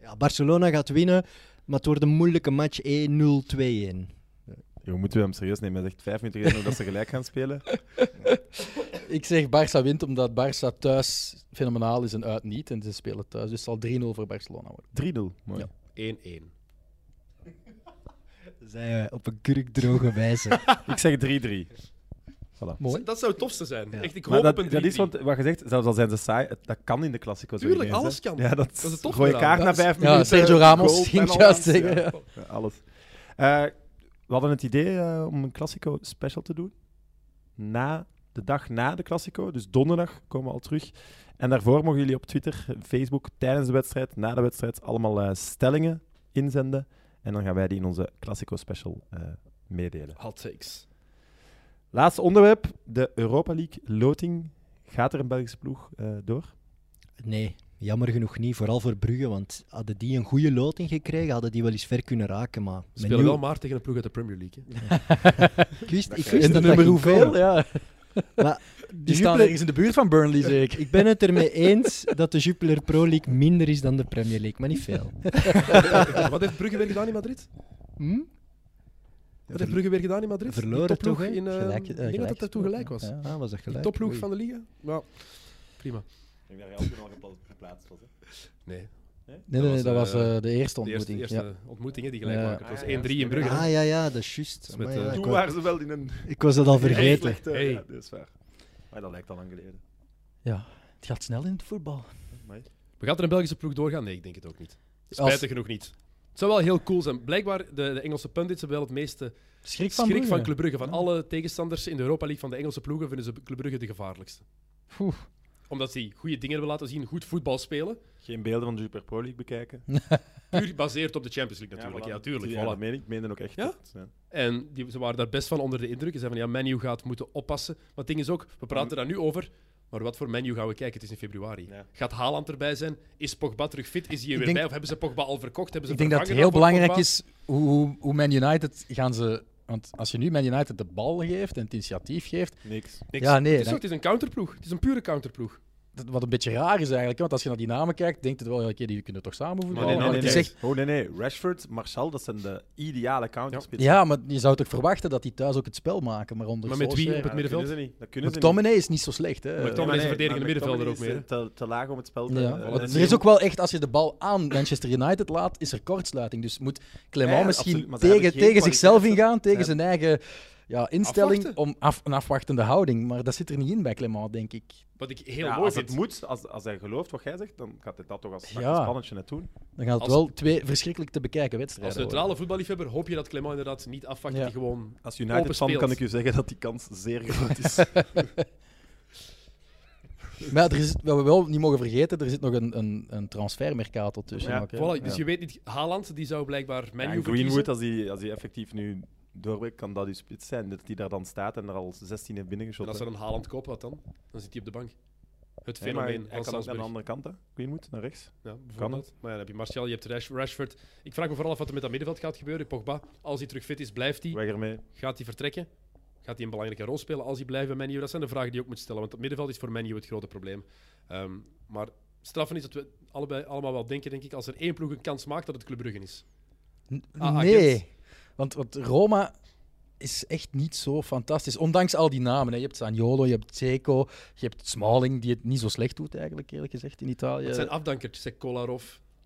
C: Ja, Barcelona gaat winnen, maar het wordt een moeilijke match eh, 1-0-2-1.
B: Yo, moeten we hem serieus nemen? Hij zegt vijf minuten geleden nog dat ze gelijk gaan spelen.
D: Ik zeg Barça wint omdat Barça thuis fenomenaal is en uit niet. En ze spelen thuis. Dus het zal 3-0 voor Barcelona worden.
B: 3-0. Mooi.
D: Ja.
A: 1-1.
C: Zijn wij eh, op een kurkdroge wijze.
B: Ik zeg 3-3.
D: Mooi.
A: Dat zou het tofste zijn.
C: Ja.
A: Echt, ik
B: Maar
A: hoop op
B: dat,
A: een 3-3.
B: dat is wat, wat je zegt, zelfs al zijn ze saai, het- dat kan in de klassico's.
A: Tuurlijk,
B: ineens, hè.
A: alles kan.
B: Ja, dat,
A: is het toffe
B: Gooi je
A: eraan.
B: kaart na
A: Dat is-
B: vijf
D: Ja,
B: minuten.
D: Sergio Ramos,
B: goal,
D: ging ik
B: penalty,
D: juist zeggen, ja.
B: Ja, alles. Eh, we hadden het idee eh, om een Classico special te doen. Na, de dag na de Classico, dus donderdag komen we al terug. En daarvoor mogen jullie op Twitter, Facebook, tijdens de wedstrijd, na de wedstrijd, allemaal eh, stellingen inzenden. En dan gaan wij die in onze Classico special eh, meedelen.
A: Hot takes.
B: Laatste onderwerp, de Europa League loting. Gaat er een Belgische ploeg eh, door?
C: Nee, jammer genoeg niet. Vooral voor Brugge, want hadden die een goede loting gekregen, hadden die wel eens ver kunnen raken. Maar
A: We
C: met
A: spelen
C: nieuw-
A: wel maar tegen een ploeg uit de Premier League. hè.
C: ik wist, ik wist
D: In de
C: dat
D: nummer
C: dat ging
D: hoeveel?
C: komen.
D: Ja.
C: Maar
D: Die staan ergens in de buurt van Burnley, zeker.
C: Ik ben het ermee eens dat de Jupiler Pro League minder is dan de Premier League, maar niet veel.
A: Wat heeft Brugge weer gedaan in Madrid?
C: Hm?
A: Wat heeft Brugge weer gedaan in Madrid? Die
C: Verloren
A: topploeg
C: toch, hè?
A: In, eh,
D: Gelijk- eh,
A: ik denk dat dat
D: gelijk
A: dat toen gelijk was.
D: Ja.
C: Ah, was dat
A: De
C: gelijk?
A: topploeg
C: Oei.
A: van de liga. Ja. Prima.
B: Ik denk dat je altijd al geplaatst was.
A: Nee,
D: Nee, nee, nee, dat was
A: eh,
D: eh, de
A: de
D: eerste
A: eerste,
D: ontmoeting.
A: eerste
D: ja.
A: ontmoeting hè, die gelijk
D: Ja.
A: maken. Het was
B: Ah,
A: 1-3 in Brugge.
C: Ah ja, ja, dat is juist.
A: is met,
C: Amai, ja,
A: eh,
C: ik,
B: Toen
C: wa-
B: waren ze wel in een...
C: ik was dat al vergeten.
B: Slechte-
A: Hey.
B: Ja, dat is waar. Maar dat lijkt al lang geleden.
D: Ja. Het gaat snel in het voetbal.
A: We gaan er een Belgische ploeg doorgaan? Nee, ik denk het ook niet. Spijtig
D: Als
A: genoeg niet. Het zou wel heel cool zijn. Blijkbaar, de, de Engelse pundits hebben wel het meeste
D: schrik van
A: schrik van
D: Brugge.
A: Club Brugge. Van
D: Ja.
A: alle tegenstanders in de Europa League van de Engelse ploegen vinden ze Club Brugge de gevaarlijkste.
D: Oeh.
A: Omdat ze goede dingen hebben laten zien, goed voetbal spelen.
B: Geen beelden van de Super Pro League bekijken.
A: Puur gebaseerd op de Champions League natuurlijk. Ja, tuurlijk.
B: Ja,
A: voilà.
B: dat meen ik. Ik meen dat ook echt.
A: Ja?
B: dat, ja.
A: En die, ze waren daar best van onder de indruk. Ze zeiden van ja, Menu gaat moeten oppassen. Maar het ding is ook, we praten daar nu over. Maar wat voor menu gaan we kijken? Het is in februari.
B: Mm. Ja.
A: Gaat Haaland erbij zijn? Is Pogba terug fit? Is hij er
D: Ik
A: weer
D: denk-
A: bij? Of hebben ze Pogba al verkocht? Hebben ze
D: Ik denk dat het
A: vervangen dan
D: heel
A: voor
D: belangrijk
A: Pogba?
D: is hoe, hoe, hoe Man United gaan ze. Want als je nu Man United de bal geeft en het initiatief geeft,
B: Niks.
A: Niks.
D: Ja, nee,
A: het, is
D: dan-
A: ook- het is een counterploeg. Het is een pure counterploeg.
D: dat- wat een beetje raar is eigenlijk. hè, Want als je naar die namen kijkt, denkt het wel, ja, oké, die kunnen toch samen voetballen.
A: nee,
D: maar
A: nee,
D: het
A: nee,
D: is
A: nee.
D: echt-
B: Oh nee, nee. Rashford, Martial, dat zijn de ideale counterspitsen.
D: ja, maar je zou toch verwachten dat die thuis ook het spel maken. Maar onder
A: Maar met wie
D: Solskjaer-
A: op het
B: dat kunnen
A: middenveld?
B: ze niet. Dat kunnen ze niet.
D: McTominay is niet zo slecht. Hè.
A: McTominay- Tom is een verdedigende
B: maar McTominay
A: middenvelder ook meer,
B: is, eh, Te, te laag om het spel te...
D: Ja.
B: eh,
A: Voilà.
B: en
D: Er is ook wel echt, als je de bal aan Manchester United laat, is er kortsluiting. Dus moet Clement
B: Ja, ja,
D: misschien
B: absoluut, maar ze
D: tegen,
B: hebben geen
D: tegen zichzelf
B: kwaliteiten.
D: ingaan, tegen
B: Ja.
D: zijn eigen ja, instelling,
A: Afwachten.
D: om af, een afwachtende houding. Maar dat zit er niet in bij Clement, denk ik.
A: Wat ik heel
B: ja,
A: mooi
B: als
A: vind.
B: het moet, als, als hij gelooft wat jij zegt, dan gaat hij dat toch als
D: Ja.
B: ja. spannetje net doen.
D: Dan gaan het
A: Als-
D: wel twee verschrikkelijk te bekijken
A: Als
D: wedstrijden
A: neutrale voetballiefhebber hoop je dat Clement inderdaad niet afwacht.
D: Ja.
A: dat hij gewoon...
B: Als
A: Open
B: United-fan
A: speelt.
B: kan ik u zeggen dat die kans zeer groot is.
D: worden. Maar er is, wat we wel niet mogen vergeten, er zit nog een, een, een transfermercato tussen.
B: Ja,
D: ook, hè.
A: Voilà, dus
D: Ja.
A: je weet niet... Haaland, die zou blijkbaar
B: Ja,
A: menu
B: en Greenwood, als hij, als hij effectief nu doorbreekt, kan dat die spits zijn. Dat hij daar dan staat en er al 16 heeft
A: En
B: binnengeschoten.
A: als ze een Haaland kopen, wat dan? Dan zit hij op de bank. Het
B: Ja, maar hij-
A: fenomeen
B: hij
A: van
B: kan ook naar de
A: Salzburg.
B: andere kant, hè? Greenwood, naar rechts.
A: Ja, bijvoorbeeld.
B: het?
A: Maar ja, dan heb je Martial, je hebt Rash- Rashford. Ik vraag me vooral af wat er met dat middenveld gaat gebeuren. Pogba, als hij terug fit is, blijft hij?
B: Weg ermee.
A: Gaat hij vertrekken? Gaat hij een belangrijke rol spelen als hij blijft bij Menu? Dat zijn de vragen die je ook moet stellen, want het middenveld is voor Menu het grote probleem. Ehm, maar straffen is dat we allebei allemaal wel denken, denk ik, als er één ploeg een kans maakt, dat het Club Brugge is.
D: N-
A: Ah, agent.
D: nee, want, want Roma is echt niet zo fantastisch. Ondanks al die namen. Hè. Je hebt Zaniolo, je hebt Zeko, je hebt Smalling, die het niet zo slecht doet eigenlijk, eerlijk gezegd, in Italië.
A: Het zijn afdankertjes, hè, Kolarov.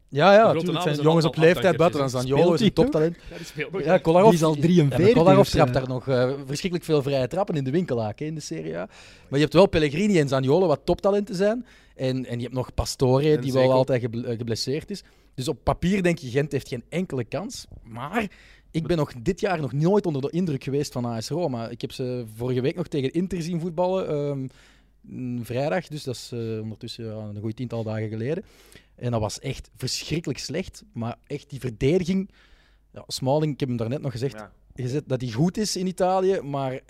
D: ja,
A: namen
D: ja, natuurlijk.
A: zijn allemaal
D: Het zijn
A: dus
D: jongens op leeftijd buiten. Dan
A: afdankertjes,
D: Zaniolo is een
C: Speelt hij
D: toptalent.
A: Ja, die speelt nog.
D: Ja, Kolarov,
C: Die is al 43
D: Ja, Kolarov
C: dus,
D: trapt
C: eh.
D: daar nog eh, verschrikkelijk veel vrije trappen in de winkelhaak hè, in de Serie A. Maar je hebt wel Pellegrini en Zaniolo, wat toptalenten zijn. En, en je hebt nog Pastore,
A: En
D: die
A: Zeko.
D: wel altijd geble- eh, geblesseerd is. Dus op papier denk je, Gent heeft geen enkele kans. Maar ik ben nog dit jaar nog nooit onder de indruk geweest van AS Roma. Ik heb ze vorige week nog tegen Inter zien voetballen. ehm, mm, vrijdag, dus dat is eh, ondertussen ja, een goede tiental dagen geleden. En dat was echt verschrikkelijk slecht. Maar echt die verdediging... Ja, Smalling, ik heb hem daarnet nog gezegd,
B: Ja.
D: gezet dat hij goed is in Italië, maar eh,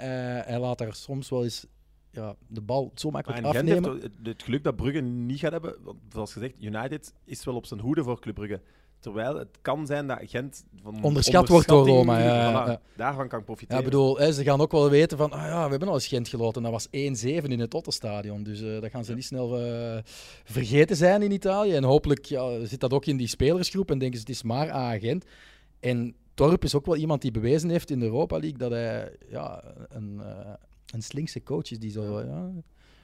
D: hij laat daar soms wel eens ja, de bal zo
B: Maar
D: makkelijk
B: en Gent heeft
D: afnemen.
B: het, het geluk dat Brugge niet gaat hebben. Want zoals gezegd, United is wel op zijn hoede voor Club Brugge. Terwijl het kan zijn dat Gent... Van
D: Onderschat wordt door
B: onderschatting-
D: Roma, ja,
B: voilà,
D: ja.
B: Daarvan kan
D: Ja,
B: profiteren.
D: ik bedoel, hè, ze gaan ook wel weten van, ah ja, we hebben al eens Gent geloten. Dat was 1-7 in het Ottenstadion. Dus eh, dat gaan ze niet snel eh, vergeten zijn in Italië. En hopelijk ja, zit dat ook in die spelersgroep en denken ze, het is maar agent. En Torp is ook wel iemand die bewezen heeft in de Europa League dat hij ja, een, eh, een slinkse coach is die zo, ja,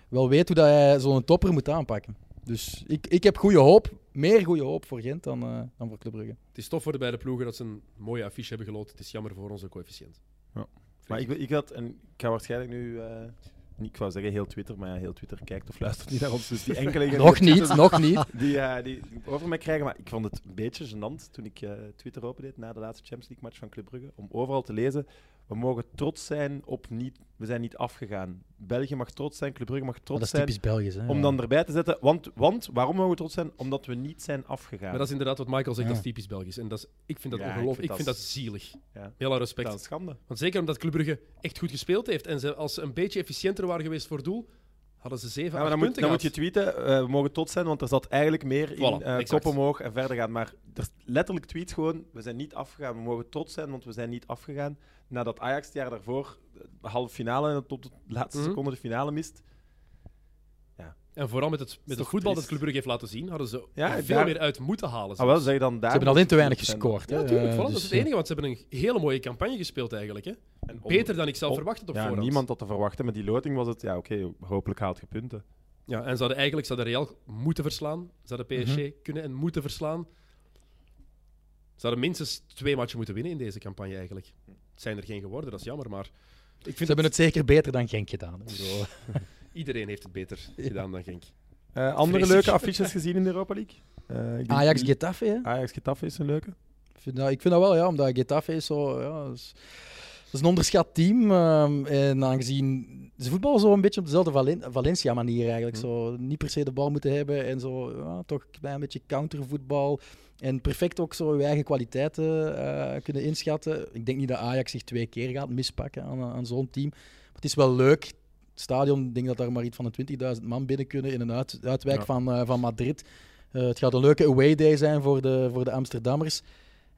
D: wel weet hoe dat hij zo'n topper moet aanpakken. Dus ik, ik heb goede hoop, meer goede hoop voor Gent dan, eh, dan voor Club Brugge.
A: Het is tof voor de beide ploegen dat ze een mooie affiche hebben geloten. Het is jammer voor onze coëfficiënt.
B: Maar ik, ik had, en ik ga waarschijnlijk nu, eh, niet, ik wou zeggen heel Twitter, maar ja, heel Twitter kijkt of luistert niet naar ons. Dus die enkele
D: Nog niet, nog niet.
B: die, eh, die over mij krijgen. Maar ik vond het een beetje gênant toen ik eh, Twitter opendeed na de laatste Champions League match van Club Brugge. Om overal te lezen, we mogen trots zijn op niet, we zijn niet afgegaan. België mag trots zijn, Club Brugge mag
D: Maar
B: trots
D: dat is
B: zijn.
D: typisch Belgisch. Hè?
B: Om dan erbij te zetten, want, want waarom mogen we trots zijn? Omdat we niet zijn afgegaan.
A: Maar dat is inderdaad wat Michael zegt,
D: Ja.
A: dat is typisch Belgisch. En dat is, ik vind dat
B: Ja, ik
A: ongelooflijk.
B: vind
A: Ik vind
B: dat-
A: dat zielig.
B: Ja.
A: Heel veel
B: Dat is
A: respect.
B: een schande.
A: Want zeker omdat Club Brugge echt goed gespeeld heeft. En ze, als ze een beetje efficiënter waren geweest voor doel, hadden ze
B: Ja,
A: zeven,
B: maar
A: acht
B: dan moet,
A: punten
B: dan moet je
A: gehad.
B: tweeten, eh, we mogen trots zijn, want er zat eigenlijk meer in
A: Voilà,
B: eh
A: exact.
B: kop omhoog en verder gaan. Maar er is letterlijk tweet gewoon, we zijn niet afgegaan. We mogen trots zijn, want we zijn niet afgegaan. Nadat Ajax het jaar daarvoor de halve finale en tot de laatste
A: Mhm.
B: seconde de finale mist.
A: En vooral met het, met
B: toch
A: het voetbal dat
B: triest?
A: Club Brugge heeft laten zien, hadden ze
B: Ja,
A: er veel
B: daar-
A: meer uit moeten halen.
B: Ah, wel, zeg je dan daar
D: Ze hebben alleen te weinig
B: trots zijn.
D: gescoord.
A: Ja,
D: hè.
A: natuurlijk.
D: Eh,
A: Vooral dat is
D: dus,
A: het enige, want ze hebben een hele mooie campagne gespeeld eigenlijk. Hè.
B: En om-
A: Beter dan ik zelf
B: om-
A: verwacht had op
B: ja,
A: voorhand.
B: niemand had te verwachten. Met die loting was het, ja oké, hopelijk haalt je punten.
A: Ja, en ze hadden eigenlijk ze hadden Real moeten verslaan. Ze hadden
B: Mhm.
A: PSG kunnen en moeten verslaan. Ze hadden minstens twee matchen moeten winnen in deze campagne eigenlijk. Het zijn er geen geworden, dat is jammer, maar ik
D: Ze
A: vind
D: hebben
A: dat
D: het zeker beter dan Genk gedaan. hè. Ik bedoel,
A: iedereen heeft het beter gedaan dan Genk.
B: Eh, andere
A: Vreselijk.
B: leuke affiches gezien in de Europa League? Eh, ik denk-
D: Ajax Getafe, hè?
B: Ajax Getafe is een leuke.
D: Ik vind, dat, ik vind dat wel, ja, omdat Getafe is zo. Ja, dat is, dat is een onderschat team. ehm, en aangezien ze voetballen zo een beetje op dezelfde Valen- Valencia-manier eigenlijk. Zo, niet per se de bal moeten hebben en zo ja, toch een klein beetje countervoetbal. En perfect ook zo je eigen kwaliteiten eh, kunnen inschatten. Ik denk niet dat Ajax zich twee keer gaat mispakken aan, aan zo'n team. Maar het is wel leuk. Het stadion, ik denk dat daar maar iets van de 20.000 man binnen kunnen in een uit, uitwijk
B: Ja.
D: van, eh, van Madrid. Eh, het gaat een leuke away day zijn voor de, voor de Amsterdammers.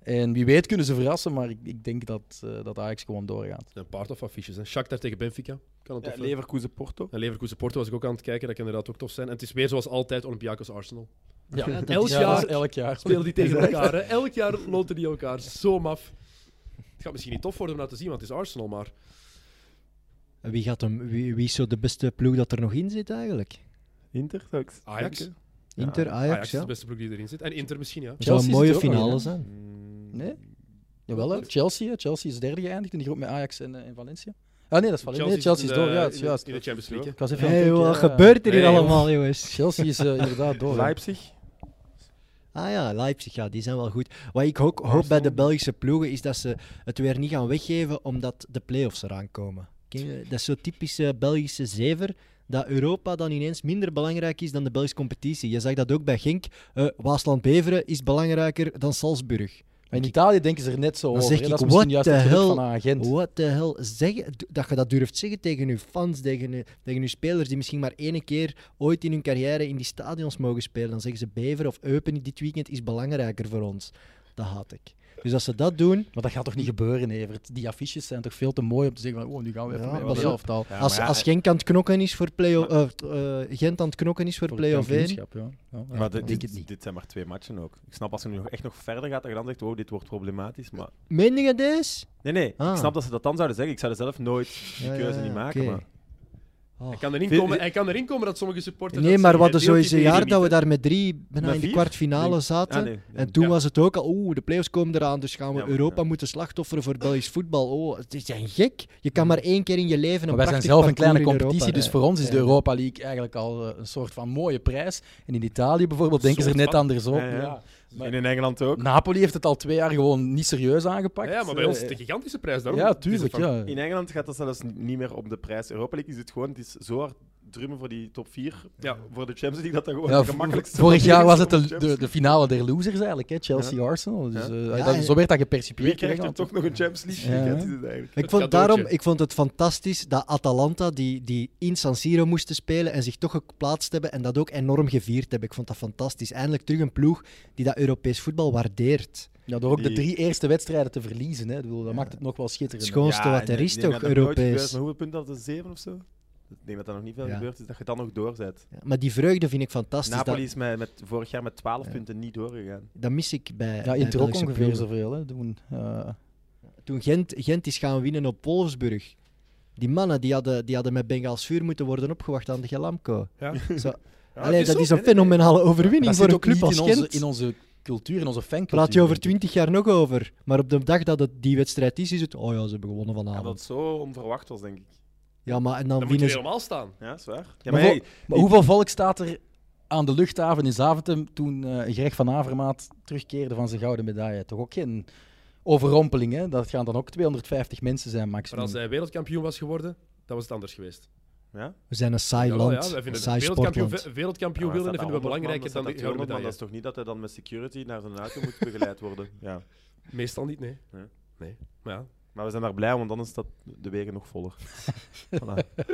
D: En wie weet kunnen ze verrassen, maar ik, ik denk dat, eh, dat Ajax gewoon doorgaat.
A: Een paar tof affiches. Hè. Shakhtar tegen Benfica. Kan het
B: Ja,
A: tof zijn.
B: Leverkusen Porto.
A: En Leverkusen Porto was ik ook aan het kijken, dat kan inderdaad ook tof zijn. En het is weer zoals altijd Olympiakos Arsenal.
D: Ja, dat
A: elk
D: is- ja,
A: jaar
D: dat is elk jaar.
A: Spelen die tegen elkaar. Hè. Elk jaar loten die elkaar. Zo maf. Het gaat misschien niet tof worden om dat te zien, want het is Arsenal, maar
C: En Wie, gaat hem, wie, wie is zo de beste ploeg dat er nog in zit eigenlijk?
B: Inter, zou ik
A: Ajax?
B: denken. Ja,
C: Inter, Ajax,
A: Ajax, is
C: ja.
A: de beste ploeg die erin zit. En Inter misschien, ja.
C: Het zou een
D: Chelsea
C: mooie
D: zit er ook nog in,
C: finale
D: hè?
C: zijn.
B: Mm,
D: Nee? Jawel, hè. Chelsea. hè. Chelsea is derde geëindigd in die groep met Ajax en, eh, en Valencia. Ah nee, dat is Valencia. Nee, Chelsea is
A: in de-
D: door. Ja, het is
A: in de-
D: juist.
A: In de Champions League.
D: Ik was even aan het
C: Hey,
D: denken,
C: wat
D: ja.
C: gebeurt er hier
A: Nee, joh.
C: allemaal, jongens?
D: Chelsea is eh, inderdaad door. hè.
B: Leipzig.
C: Ah ja, Leipzig, ja, die zijn wel goed. Wat ik ook hoop bij de
B: Arsenal.
C: Belgische ploegen is dat ze het weer niet gaan weggeven omdat de play-offs eraan komen. Ken je- Dat is zo'n typische Belgische zever, dat Europa dan ineens minder belangrijk is dan de Belgische competitie. Je zag dat ook bij Genk. Eh, Waasland-Beveren is belangrijker dan Salzburg.
D: Maar in Italië denken ze er net zo
C: Dan
D: over.
C: zeg
D: hè.
C: ik,
D: dat is misschien
C: what
D: juist het
C: the
D: geluk
C: hell?
D: van een agent.
C: Wat de hel, zeggen, d- dat je dat durft zeggen tegen je fans, tegen je, tegen je spelers die misschien maar ene keer ooit in hun carrière in die stadions mogen spelen. Dan zeggen ze Bever of Eupen dit weekend is belangrijker voor ons. Dat haat ik. Dus als ze dat doen,
D: Maar dat gaat toch niet gebeuren, Evert? Die affiches zijn toch veel te mooi om te zeggen van, oh, nu gaan we even
C: Ja,
D: met
C: pas
D: de
C: op.
D: elftal.
B: Ja,
C: als,
B: maar ja,
C: als Genk aan het knokken is voor play eh eh, Gent aan het knokken is voor,
D: Voor het
C: play-off één.
D: kampioenschap, ja. Ja, ja,
B: eh, Maar dit,
D: ik denk het
B: dit-
D: niet.
B: dit zijn maar twee matchen ook. Ik snap als je nu nog echt nog verder gaat, dat je dan zegt, wow, dit wordt problematisch. Maar...
C: Meen je deze?
B: Nee, nee,
C: Ah.
B: ik snap dat ze dat dan zouden zeggen. Ik zou dat zelf nooit die
C: Ja, ja,
B: keuze
C: ja,
B: niet maken.
C: oké. Oh.
B: Maar...
A: Hij kan, erin
B: Veel-
A: komen, hij kan erin komen dat sommige supporters.
C: Nee,
A: dat
C: maar
A: zeggen,
C: wat er
A: hij
C: zo
A: deelt
C: is
A: die
C: een jaar
A: mening
C: dat we
A: niet, hè.
C: daar met drie bijna
B: Met
C: in de
B: vier?
C: kwartfinale
B: Denk-
C: zaten.
B: Ah, nee,
C: En toen
B: ja.
C: was het ook al, oeh, de playoffs komen eraan, dus gaan we
B: Ja, maar-
C: Europa
B: ja.
C: moeten slachtofferen voor Belgisch voetbal. Oh, het is zijn gek. Je kan maar één keer in je leven
D: Maar
C: een
D: wij zijn
C: prachtig
D: zelf een
C: parcours
D: kleine
C: in
D: competitie,
C: Europa
D: dus voor ons is de
C: Ja.
D: Europa League eigenlijk al eh, een soort van mooie prijs. En in Italië bijvoorbeeld
A: Een
D: denken ze er
A: soort
D: net
A: van-
D: andersom.
B: Ja, ja.
D: Ja. Maar-
B: En in Engeland ook.
D: Napoli heeft het al twee jaar gewoon niet serieus aangepakt.
A: Ja, maar bij ons is het
D: Eh,
A: een gigantische prijs daarom.
D: Ja,
A: Het is een
D: tuurlijk.
A: van-
D: Ja.
B: In Engeland gaat dat zelfs niet meer op de prijs. Europa League is het gewoon, het is zo hard drummen voor die top 4.
A: Ja.
B: Voor de Champions League dat dat gewoon
D: Ja,
B: het
D: v-
B: gemakkelijkste
D: vorig jaar was het
B: voor
D: de,
B: de
D: de, de finale der losers eigenlijk, hè? Chelsea Arsenal. Dus,
B: Ja.
D: eh,
C: Ja,
D: dat-
C: en-
D: zo werd dat
B: Wie
D: gepercipieerd.
B: krijgt er
D: eigenlijk.
B: toch nog een Champions League
D: Ja.
B: weekend? Is het eigenlijk?
C: Ik
A: Het
C: vond,
A: cadeautje.
C: daarom, ik vond het fantastisch dat Atalanta, die, die in San Siro moesten spelen en zich toch geplaatst hebben en dat ook enorm gevierd hebben. Ik vond dat fantastisch. Eindelijk terug een ploeg die dat Europees voetbal waardeert.
D: Ja, door ook de
B: Die-
D: drie eerste wedstrijden te verliezen. Hè. Ik bedoel, dat maakt het nog wel schitterend.
C: Schoonste
B: Ja,
C: wat
B: en
C: er
B: ik
C: is
B: denk
C: toch,
B: dat dat nooit gebeurt.
C: Europees.
B: Maar hoeveel punten hadden ze? Zeven of zo? Ik denk dat dat nog niet veel
C: Ja.
B: gebeurd is, dat je dan nog door bent.
C: Ja, Maar die vreugde vind ik fantastisch.
B: Napoli
C: Dat,
B: is met, met, vorig jaar met 12
C: Ja.
B: punten niet doorgegaan.
C: dat mis ik bij.
D: Ja,
C: bij
D: Inter ook
C: Belgische
D: ongeveer
C: ploegen.
D: zoveel. Hè. Doen, eh,
C: Toen Gent, Gent is gaan winnen op Wolfsburg. Die mannen die hadden, die hadden met Bengaals vuur moeten worden opgewacht aan de Gelamco.
A: Ja.
C: Zo,
B: Ja,
C: allee,
B: het
C: dat
B: zo,
C: is
B: nee, nee,
C: een
B: nee.
C: fenomenale overwinning
D: dat
C: voor
D: zit
C: een
D: ook niet
C: club als
D: in onze,
C: Gent.
D: in onze cultuur, in onze fancultuur.
C: Praat je over
D: denk ik.
C: 20 jaar nog over. Maar op de dag dat het die wedstrijd is, is het. Oh ja, ze hebben gewonnen
B: Ja, dat
C: vanavond.
B: het zo onverwacht was, denk ik.
C: Ja, maar en dan
A: Dan moet je
C: winnen
A: weer
C: ze.
A: helemaal staan.
B: Ja, is waar. Ja,
D: Maar
B: maar
D: voor-
B: hey,
D: Maar hoeveel volk staat er aan de luchthaven in Zaventem toen eh Greg van Avermaat terugkeerde van zijn gouden medaille? Toch ook geen overrompeling, hè? Dat gaan dan ook 250 mensen zijn,
A: Maar
D: maximum.
A: als hij wereldkampioen was geworden, dan was het anders geweest.
B: ja?
C: We zijn een saai
A: Jawel,
C: land.
A: ja, wij
C: een
A: vinden
C: saai
A: wereldkampioen,
C: sportland.
A: ve- wereldkampioen willen vinden we belangrijker dan de
B: dat
A: gouden
B: maar dat
A: medaille.
B: is toch niet dat hij dan met security naar zijn auto moet begeleid worden? Ja.
A: Meestal niet, nee.
B: Ja.
A: Nee. Maar ja,
B: Maar we zijn daar blij om, want dan is dat de wegen nog voller. Voilà.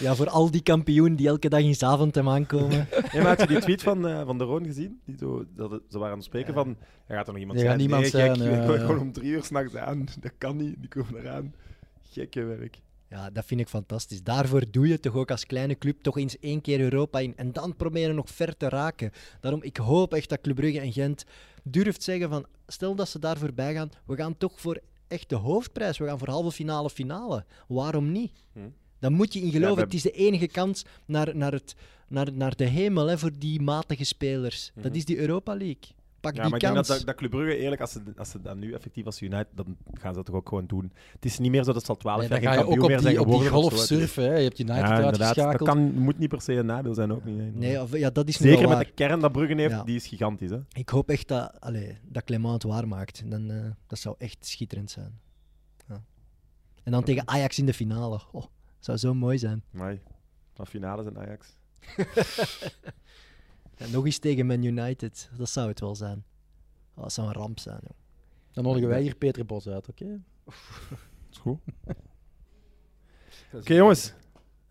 C: Ja, voor al die kampioenen die elke dag in Zaventem aankomen.
B: Hey, maar had je die tweet van, eh, van de Roon gezien? Die zo, dat, het- ze waren aan het spreken van... Er gaat er nog iemand
D: Er gaat
B: zijn.
D: niemand
B: nee,
D: zijn, eh.
B: Gek,
D: ja,
B: ik kom
D: ja.
B: gewoon om drie uur s'nachts aan. Dat kan niet, die komen eraan. Gekke werk.
C: Ja, dat vind ik fantastisch. Daarvoor doe je toch ook als kleine club toch eens één keer Europa in. En dan proberen nog ver te raken. Daarom, ik hoop echt dat Club Brugge en Gent durft zeggen van... Stel dat ze daar voorbij gaan, we gaan toch voor echt de hoofdprijs. We gaan voor halve finale, finale. Waarom niet?
B: Hm.
C: Dan moet je in geloven.
B: Ja, we-
C: Het is de enige kans naar, naar, het, naar, naar de hemel hè, voor die matige spelers. Dat
B: Mhm.
C: is die Europa League. Pak
B: Ja,
C: die
B: maar ik denk dat,
C: kans.
B: dat, dat Club Brugge, eerlijk, als ze, als ze dat nu effectief als United, dan gaan ze dat toch ook gewoon doen. Het is niet meer zo dat ze al twaalf
D: Nee,
B: jaar
D: dan
B: geen
D: ga je
B: kampioen
D: ook op
B: meer zijn
D: die, op die
B: geworden. of
D: golf
B: zo.
D: surfen, hè? Je hebt United
B: Ja, inderdaad. Dat
D: uitgeschakeld.
B: kan, moet niet per se een nadeel zijn, ook niet. hè.
C: Nee, of, ja, dat is nu wel
B: Zeker met
C: waar.
B: de kern dat Brugge heeft,
C: Ja.
B: die is gigantisch. Hè?
C: Ik hoop echt dat, allee, dat Clement het waarmaakt. Dan, eh, dat zou echt schitterend zijn. Ja. En dan tegen Ajax in de finale. Oh, zou zo mooi zijn.
B: Amai. Maar finales en Ajax.
C: En nog eens tegen Man United. Dat zou het wel zijn. Oh, dat zou een ramp zijn. joh.
D: Dan nodigen wij hier Peter Bos uit, oké?
B: Is goed. Oké,
A: dat is-
B: jongens.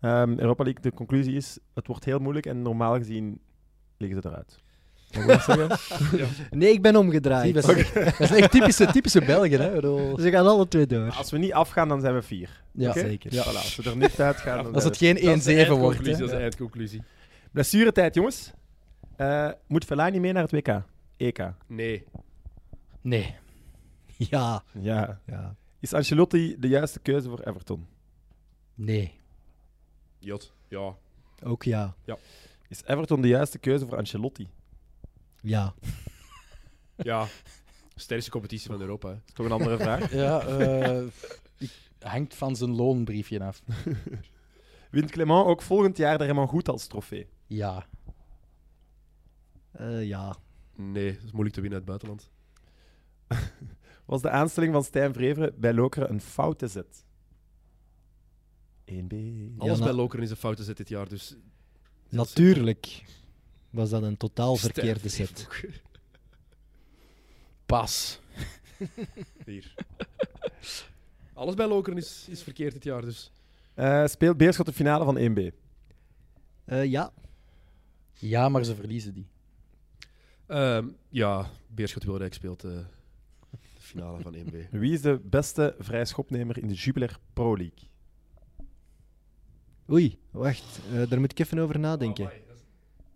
B: Ehm, Europa League, de conclusie is, het wordt heel moeilijk en normaal gezien liggen ze eruit. Mag ik dat zeggen?
C: Nee, ik ben
D: Zie,
C: omgedraaid.
D: Dat, is- dat is echt typische, typische Belgen, hè? Ik bedoel,
C: Ze gaan alle twee door.
D: Ah.
B: Als we niet afgaan, dan zijn we vier.
D: Ja,
B: Oké?
C: zeker.
B: Voilà, als we er niet uit gaan, dan
D: Als
B: zijn
D: het
B: we
D: geen 1-7
A: Dat is de
D: wordt,
A: eindconclusie,
D: hè?
A: Dat is de eindconclusie.
B: Blessuretijd, jongens. Eh moet Fellaini mee naar het E WK? EK.
A: Nee.
D: Nee.
C: Ja.
B: Ja.
C: ja.
B: Is Ancelotti de juiste keuze voor Everton?
D: Nee.
A: Jot. Ja.
C: Ook ja.
B: Is Everton de juiste keuze voor Ancelotti?
C: Ja.
A: Ja. Sterkste competitie van Europa. hè.
B: is toch een andere vraag.
D: Ja, eh, ik- hangt van zijn loonbriefje af.
B: Wint Clement ook volgend jaar de helemaal goed als trofee?
D: Ja.
C: Eh, ja.
A: Nee, dat is moeilijk te winnen uit het buitenland.
B: Was de aanstelling van Stijn Vreveren bij Lokeren een foute zet? 1B.
A: Alles
C: na-
A: bij Lokeren is een foute zet dit jaar, dus...
C: Natuurlijk was dat een totaal
A: Sterk.
C: verkeerde set.
D: Pas.
A: Hier. Alles bij Lokeren is, is verkeerd dit jaar, dus...
B: Eh, speelt Beerschot de finale van 1B?
C: Eh, ja.
D: Ja, maar ze verliezen die.
A: Ehm, ja, Beerschot Wilrijk speelt eh, de finale van 1B.
B: Wie is de beste vrijschopnemer in de Jubiler Pro League?
C: Oei, wacht. Eh, daar moet ik even over nadenken.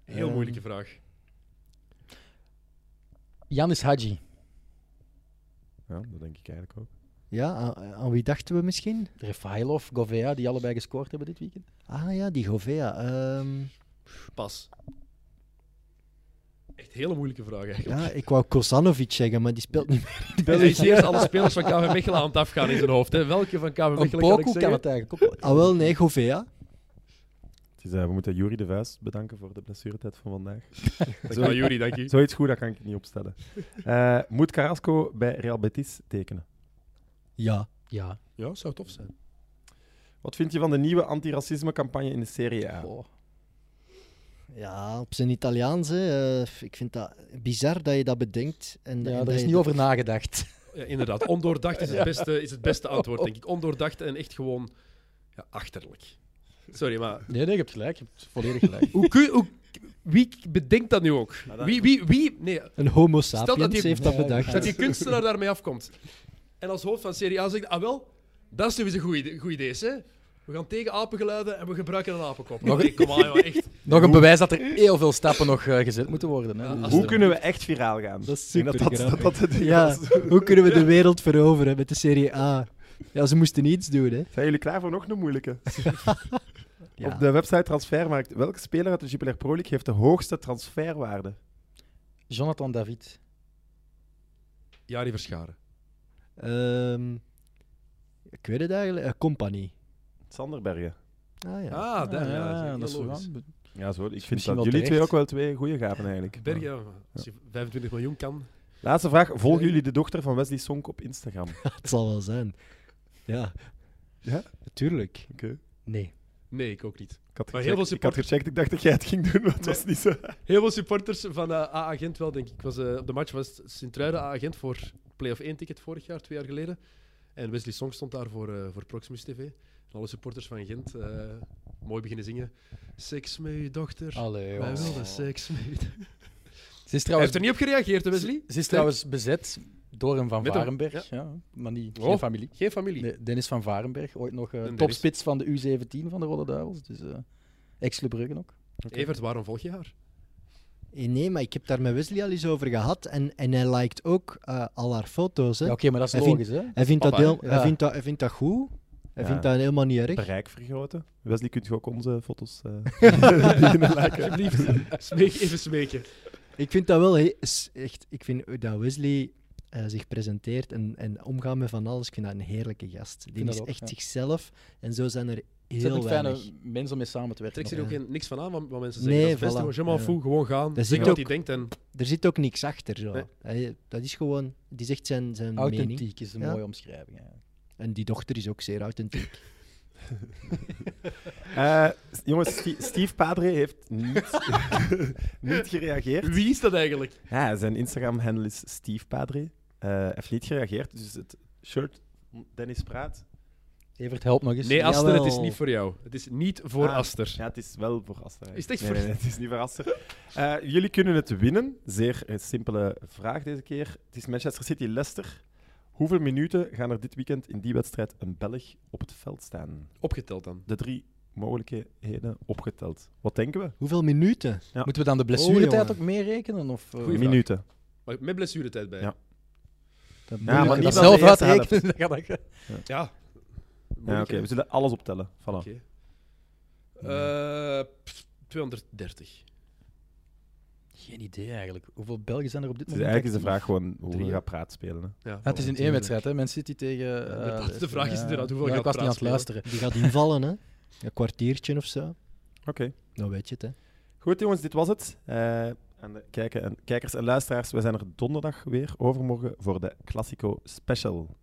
A: Heel
C: Ehm,
A: moeilijke vraag.
D: Janis Hadji.
B: Ja, dat denk ik eigenlijk ook.
C: Ja, aan, aan wie dachten we misschien?
D: Refailov, Govea, die allebei gescoord hebben dit weekend.
C: Ah ja, die Govea. ehm,
A: Pas. Echt hele moeilijke vraag eigenlijk.
C: ja, ik wou Kozanovic zeggen, maar die speelt niet meer.
A: Hij is eerst alle spelers van KV Mechelen aan het afgaan in zijn hoofd. Hè. Welke van KV
D: Een
A: Mechelen kan ik
D: Poku
A: zeggen?
D: kan het eigenlijk ook wel.
C: Ah wel, nee, Govea.
B: Het is, eh, we moeten Jury de Vuist bedanken voor de blessuretijd van vandaag.
A: Dankjewel, Juri, dank je.
B: Zoiets goed, dat kan ik niet opstellen. Eh, moet Carrasco bij Real Betis tekenen?
C: Ja.
D: Ja.
A: Ja, zou tof zijn.
B: Wat vind je van de nieuwe antiracismecampagne in de Serie A?
D: Goh.
C: Ja, op zijn Italiaans. Hè. Eh, ik vind dat bizar dat je dat bedenkt. En, en
D: Ja,
C: dat
D: daar is
C: je
D: niet
C: dat-
D: over nagedacht.
A: Ja, inderdaad, ondoordacht is het, beste, is het beste antwoord, denk ik. Ondoordacht en echt gewoon ja, achterlijk. Sorry, maar
D: Nee, nee, je hebt gelijk. Je hebt volledig gelijk.
A: hoe kun, hoe, wie bedenkt dat nu ook? Wie, wie, wie, nee,
C: Een homo
A: dat
C: sapiens
A: die-
C: heeft dat
D: Ja,
C: bedacht.
A: dat die kunstenaar daarmee afkomt. En als hoofd van Serie A zegt, ah wel, dat is sowieso een goede- goed idee, hè? We gaan tegen apengeluiden en we gebruiken een apenkop.
D: Nog-
A: Nee, kom aan, joh, echt.
D: Nog een bewijs dat er heel veel stappen nog eh, gezet moeten worden. Hè.
A: Ja,
D: Dus,
A: als
B: Hoe
D: eh,
B: kunnen we echt viraal gaan?
C: Dat is
B: Ik denk dat, dat,
C: supergrappig.
B: dat, dat het
C: Ja,
B: was.
C: hoe kunnen we de wereld veroveren met de Serie A? Ja, ze moesten iets doen, hè.
B: Zijn jullie klaar voor nog een moeilijke?
C: Ja.
B: Op de website Transfermarkt, welke speler uit de Jupiler Pro League heeft de hoogste transferwaarde?
D: Jonathan David.
A: Jari Verscharen.
C: Ehm, ik weet het eigenlijk. eh, company.
B: Zanderbergen.
C: Ah ja.
A: Ah, daar, ja,
D: Ah,
A: dat is heel
D: wel-
A: logisch.
B: Ja, zo, ik vind
D: misschien
B: dat
D: wel
B: jullie
D: terecht.
B: twee ook Dus wel twee goede gaven eigenlijk.
A: Berg, ja, als je 25 miljoen kan.
B: Laatste vraag. Volgen jullie de dochter van Wesley Sonk op Instagram?
C: Het zal wel zijn. Ja.
B: Ja?
C: Natuurlijk.
D: Nee.
A: Nee, ik ook niet.
B: Ik eh, had,
A: Maar
B: gecheckt,
A: heel veel
B: ik had
A: supporters-
B: gecheckt, ik dacht dat jij het ging doen, maar het was niet zo.
A: Heel veel supporters van eh A-agent wel, denk ik. Ik Was, eh, op de match was Sint-Truiden A-agent voor play-off 1-ticket vorig jaar, twee jaar geleden. En Wesley Song stond daar voor, eh, voor Proximus TV. En alle supporters van Gent eh, mooi beginnen zingen. Seks met je dochter.
D: Allee,
A: Wij
D: joh.
A: wilden seks met je dochter.
D: Ze is
A: Hij
D: trouwens,
A: heeft er niet op gereageerd, hè, Wesley?
D: ze is trouwens bezet door een Van
A: Met hem,
D: Varenberg. Ja. maar niet
A: Oh.
D: geen familie.
A: Geen familie.
D: Nee, Dennis Van Varenberg, ooit nog eh,
A: Dennis.
D: topspits van de U17 van de Rode Duivels. Dus eh ex Bruggen ook.
A: Evert, waarom volg je haar?
C: Eh, Nee, maar ik heb daar met Wesley al eens over gehad. En, en hij liked ook eh, al haar foto's. Hè.
D: Ja, Oké, maar dat is
C: Hij
D: logisch, hè?
C: Hij, vindt dat
A: Papa,
C: heel,
D: hè?
C: hij,
D: Ja.
C: vindt dat, hij vindt dat goed. Hij
B: Ja.
C: vindt dat helemaal niet erg.
B: Bereik vergroten. Wesley, kunt je ook onze foto's... eh,
A: Alsjeblieft, smeek, even smeken.
C: Ik vind dat wel he- is echt. Ik vind hoe dat Wesley eh, zich presenteert en, en omgaan met van alles. Ik vind dat een heerlijke gast. Die
D: vind dat
C: is
D: ook,
C: echt
D: ja.
C: zichzelf. En zo zijn er
D: Het zijn
C: heel
D: ook
C: weinig.
D: fijne mensen om mee samen te
A: Trek
D: werken. nog.
A: zich er ook geen- niks van aan wat, wat mensen
C: Nee,
A: zeggen. dat is best,
C: voilà.
A: gewoon, je m'en
C: Ja.
A: fout, gewoon gaan.
C: Dat
A: Zeg
C: zit
A: wat hij
C: ook-
A: denkt en
C: Er zit ook niks achter. Zo.
A: Nee.
C: Hij- dat is gewoon. Die zegt zijn, zijn mening.
D: Authentiek is een
C: Ja.
D: mooie omschrijving. eigenlijk.
C: En die dochter is ook zeer authentiek.
B: Eh, s- jongens, Stie- Steve Padre heeft niet, niet gereageerd.
A: wie is dat eigenlijk?
B: Ja, zijn Instagram-handle is Steve Padre. Eh, heeft niet gereageerd, dus het shirt Dennis praat.
D: Evert, help nog eens.
A: Nee, Aster, het is
C: Jawel.
A: niet voor jou. Het is niet voor
B: Ah.
A: Aster.
B: Ja, het is wel voor Aster.
A: Is het echt
B: nee,
A: voor-
B: nee, nee, het is niet voor Aster. Eh, jullie kunnen het winnen. Zeer eh, simpele vraag deze keer. Het is Manchester City-Leicester. Hoeveel minuten gaan er dit weekend in die wedstrijd een Belg op het veld staan?
A: Opgeteld dan.
B: De drie mogelijkheden opgeteld. Wat denken we?
C: Hoeveel minuten?
D: Moeten we dan de
C: Oh,
D: blessuretijd
C: jongen.
D: ook meerekenen? Of, eh,
A: Goeie vraag.
B: minuten.
A: Maar met blessuretijd bij.
B: Ja.
D: dat
B: maar
D: moet ik
B: niet
D: dat
B: van de
D: zelf
B: eerste
D: uitrekenen. Dat gaat ook-
A: Ja.
B: Ja, Oké, we zullen alles optellen. Voilà.
A: Oké. Eh, pff, 230.
D: Geen idee eigenlijk. Hoeveel Belgen zijn er op dit
B: Dus
D: moment?
B: eigenlijk is de
D: actief?
B: vraag gewoon hoe
A: Drie,
B: we
A: hè?
B: gaan praat spelen. Hè.
A: Ja,
D: Ah, het is
A: voilà.
D: in één wedstrijd, hè? Man City tegen. eh,
A: Inderdaad, de
D: Leicester,
A: vraag is
D: ja.
A: inderdaad hoeveel
D: Ja,
A: gaat
D: Ik was niet aan het
A: Praat
D: luisteren.
C: Die gaat invallen, hè? Een kwartiertje of zo.
B: Oké.
C: Dan weet je het, hè?
B: Goed jongens, dit was het. Eh, aan de kijken en, kijkers en luisteraars, we zijn er donderdag weer overmorgen voor de Classico Special.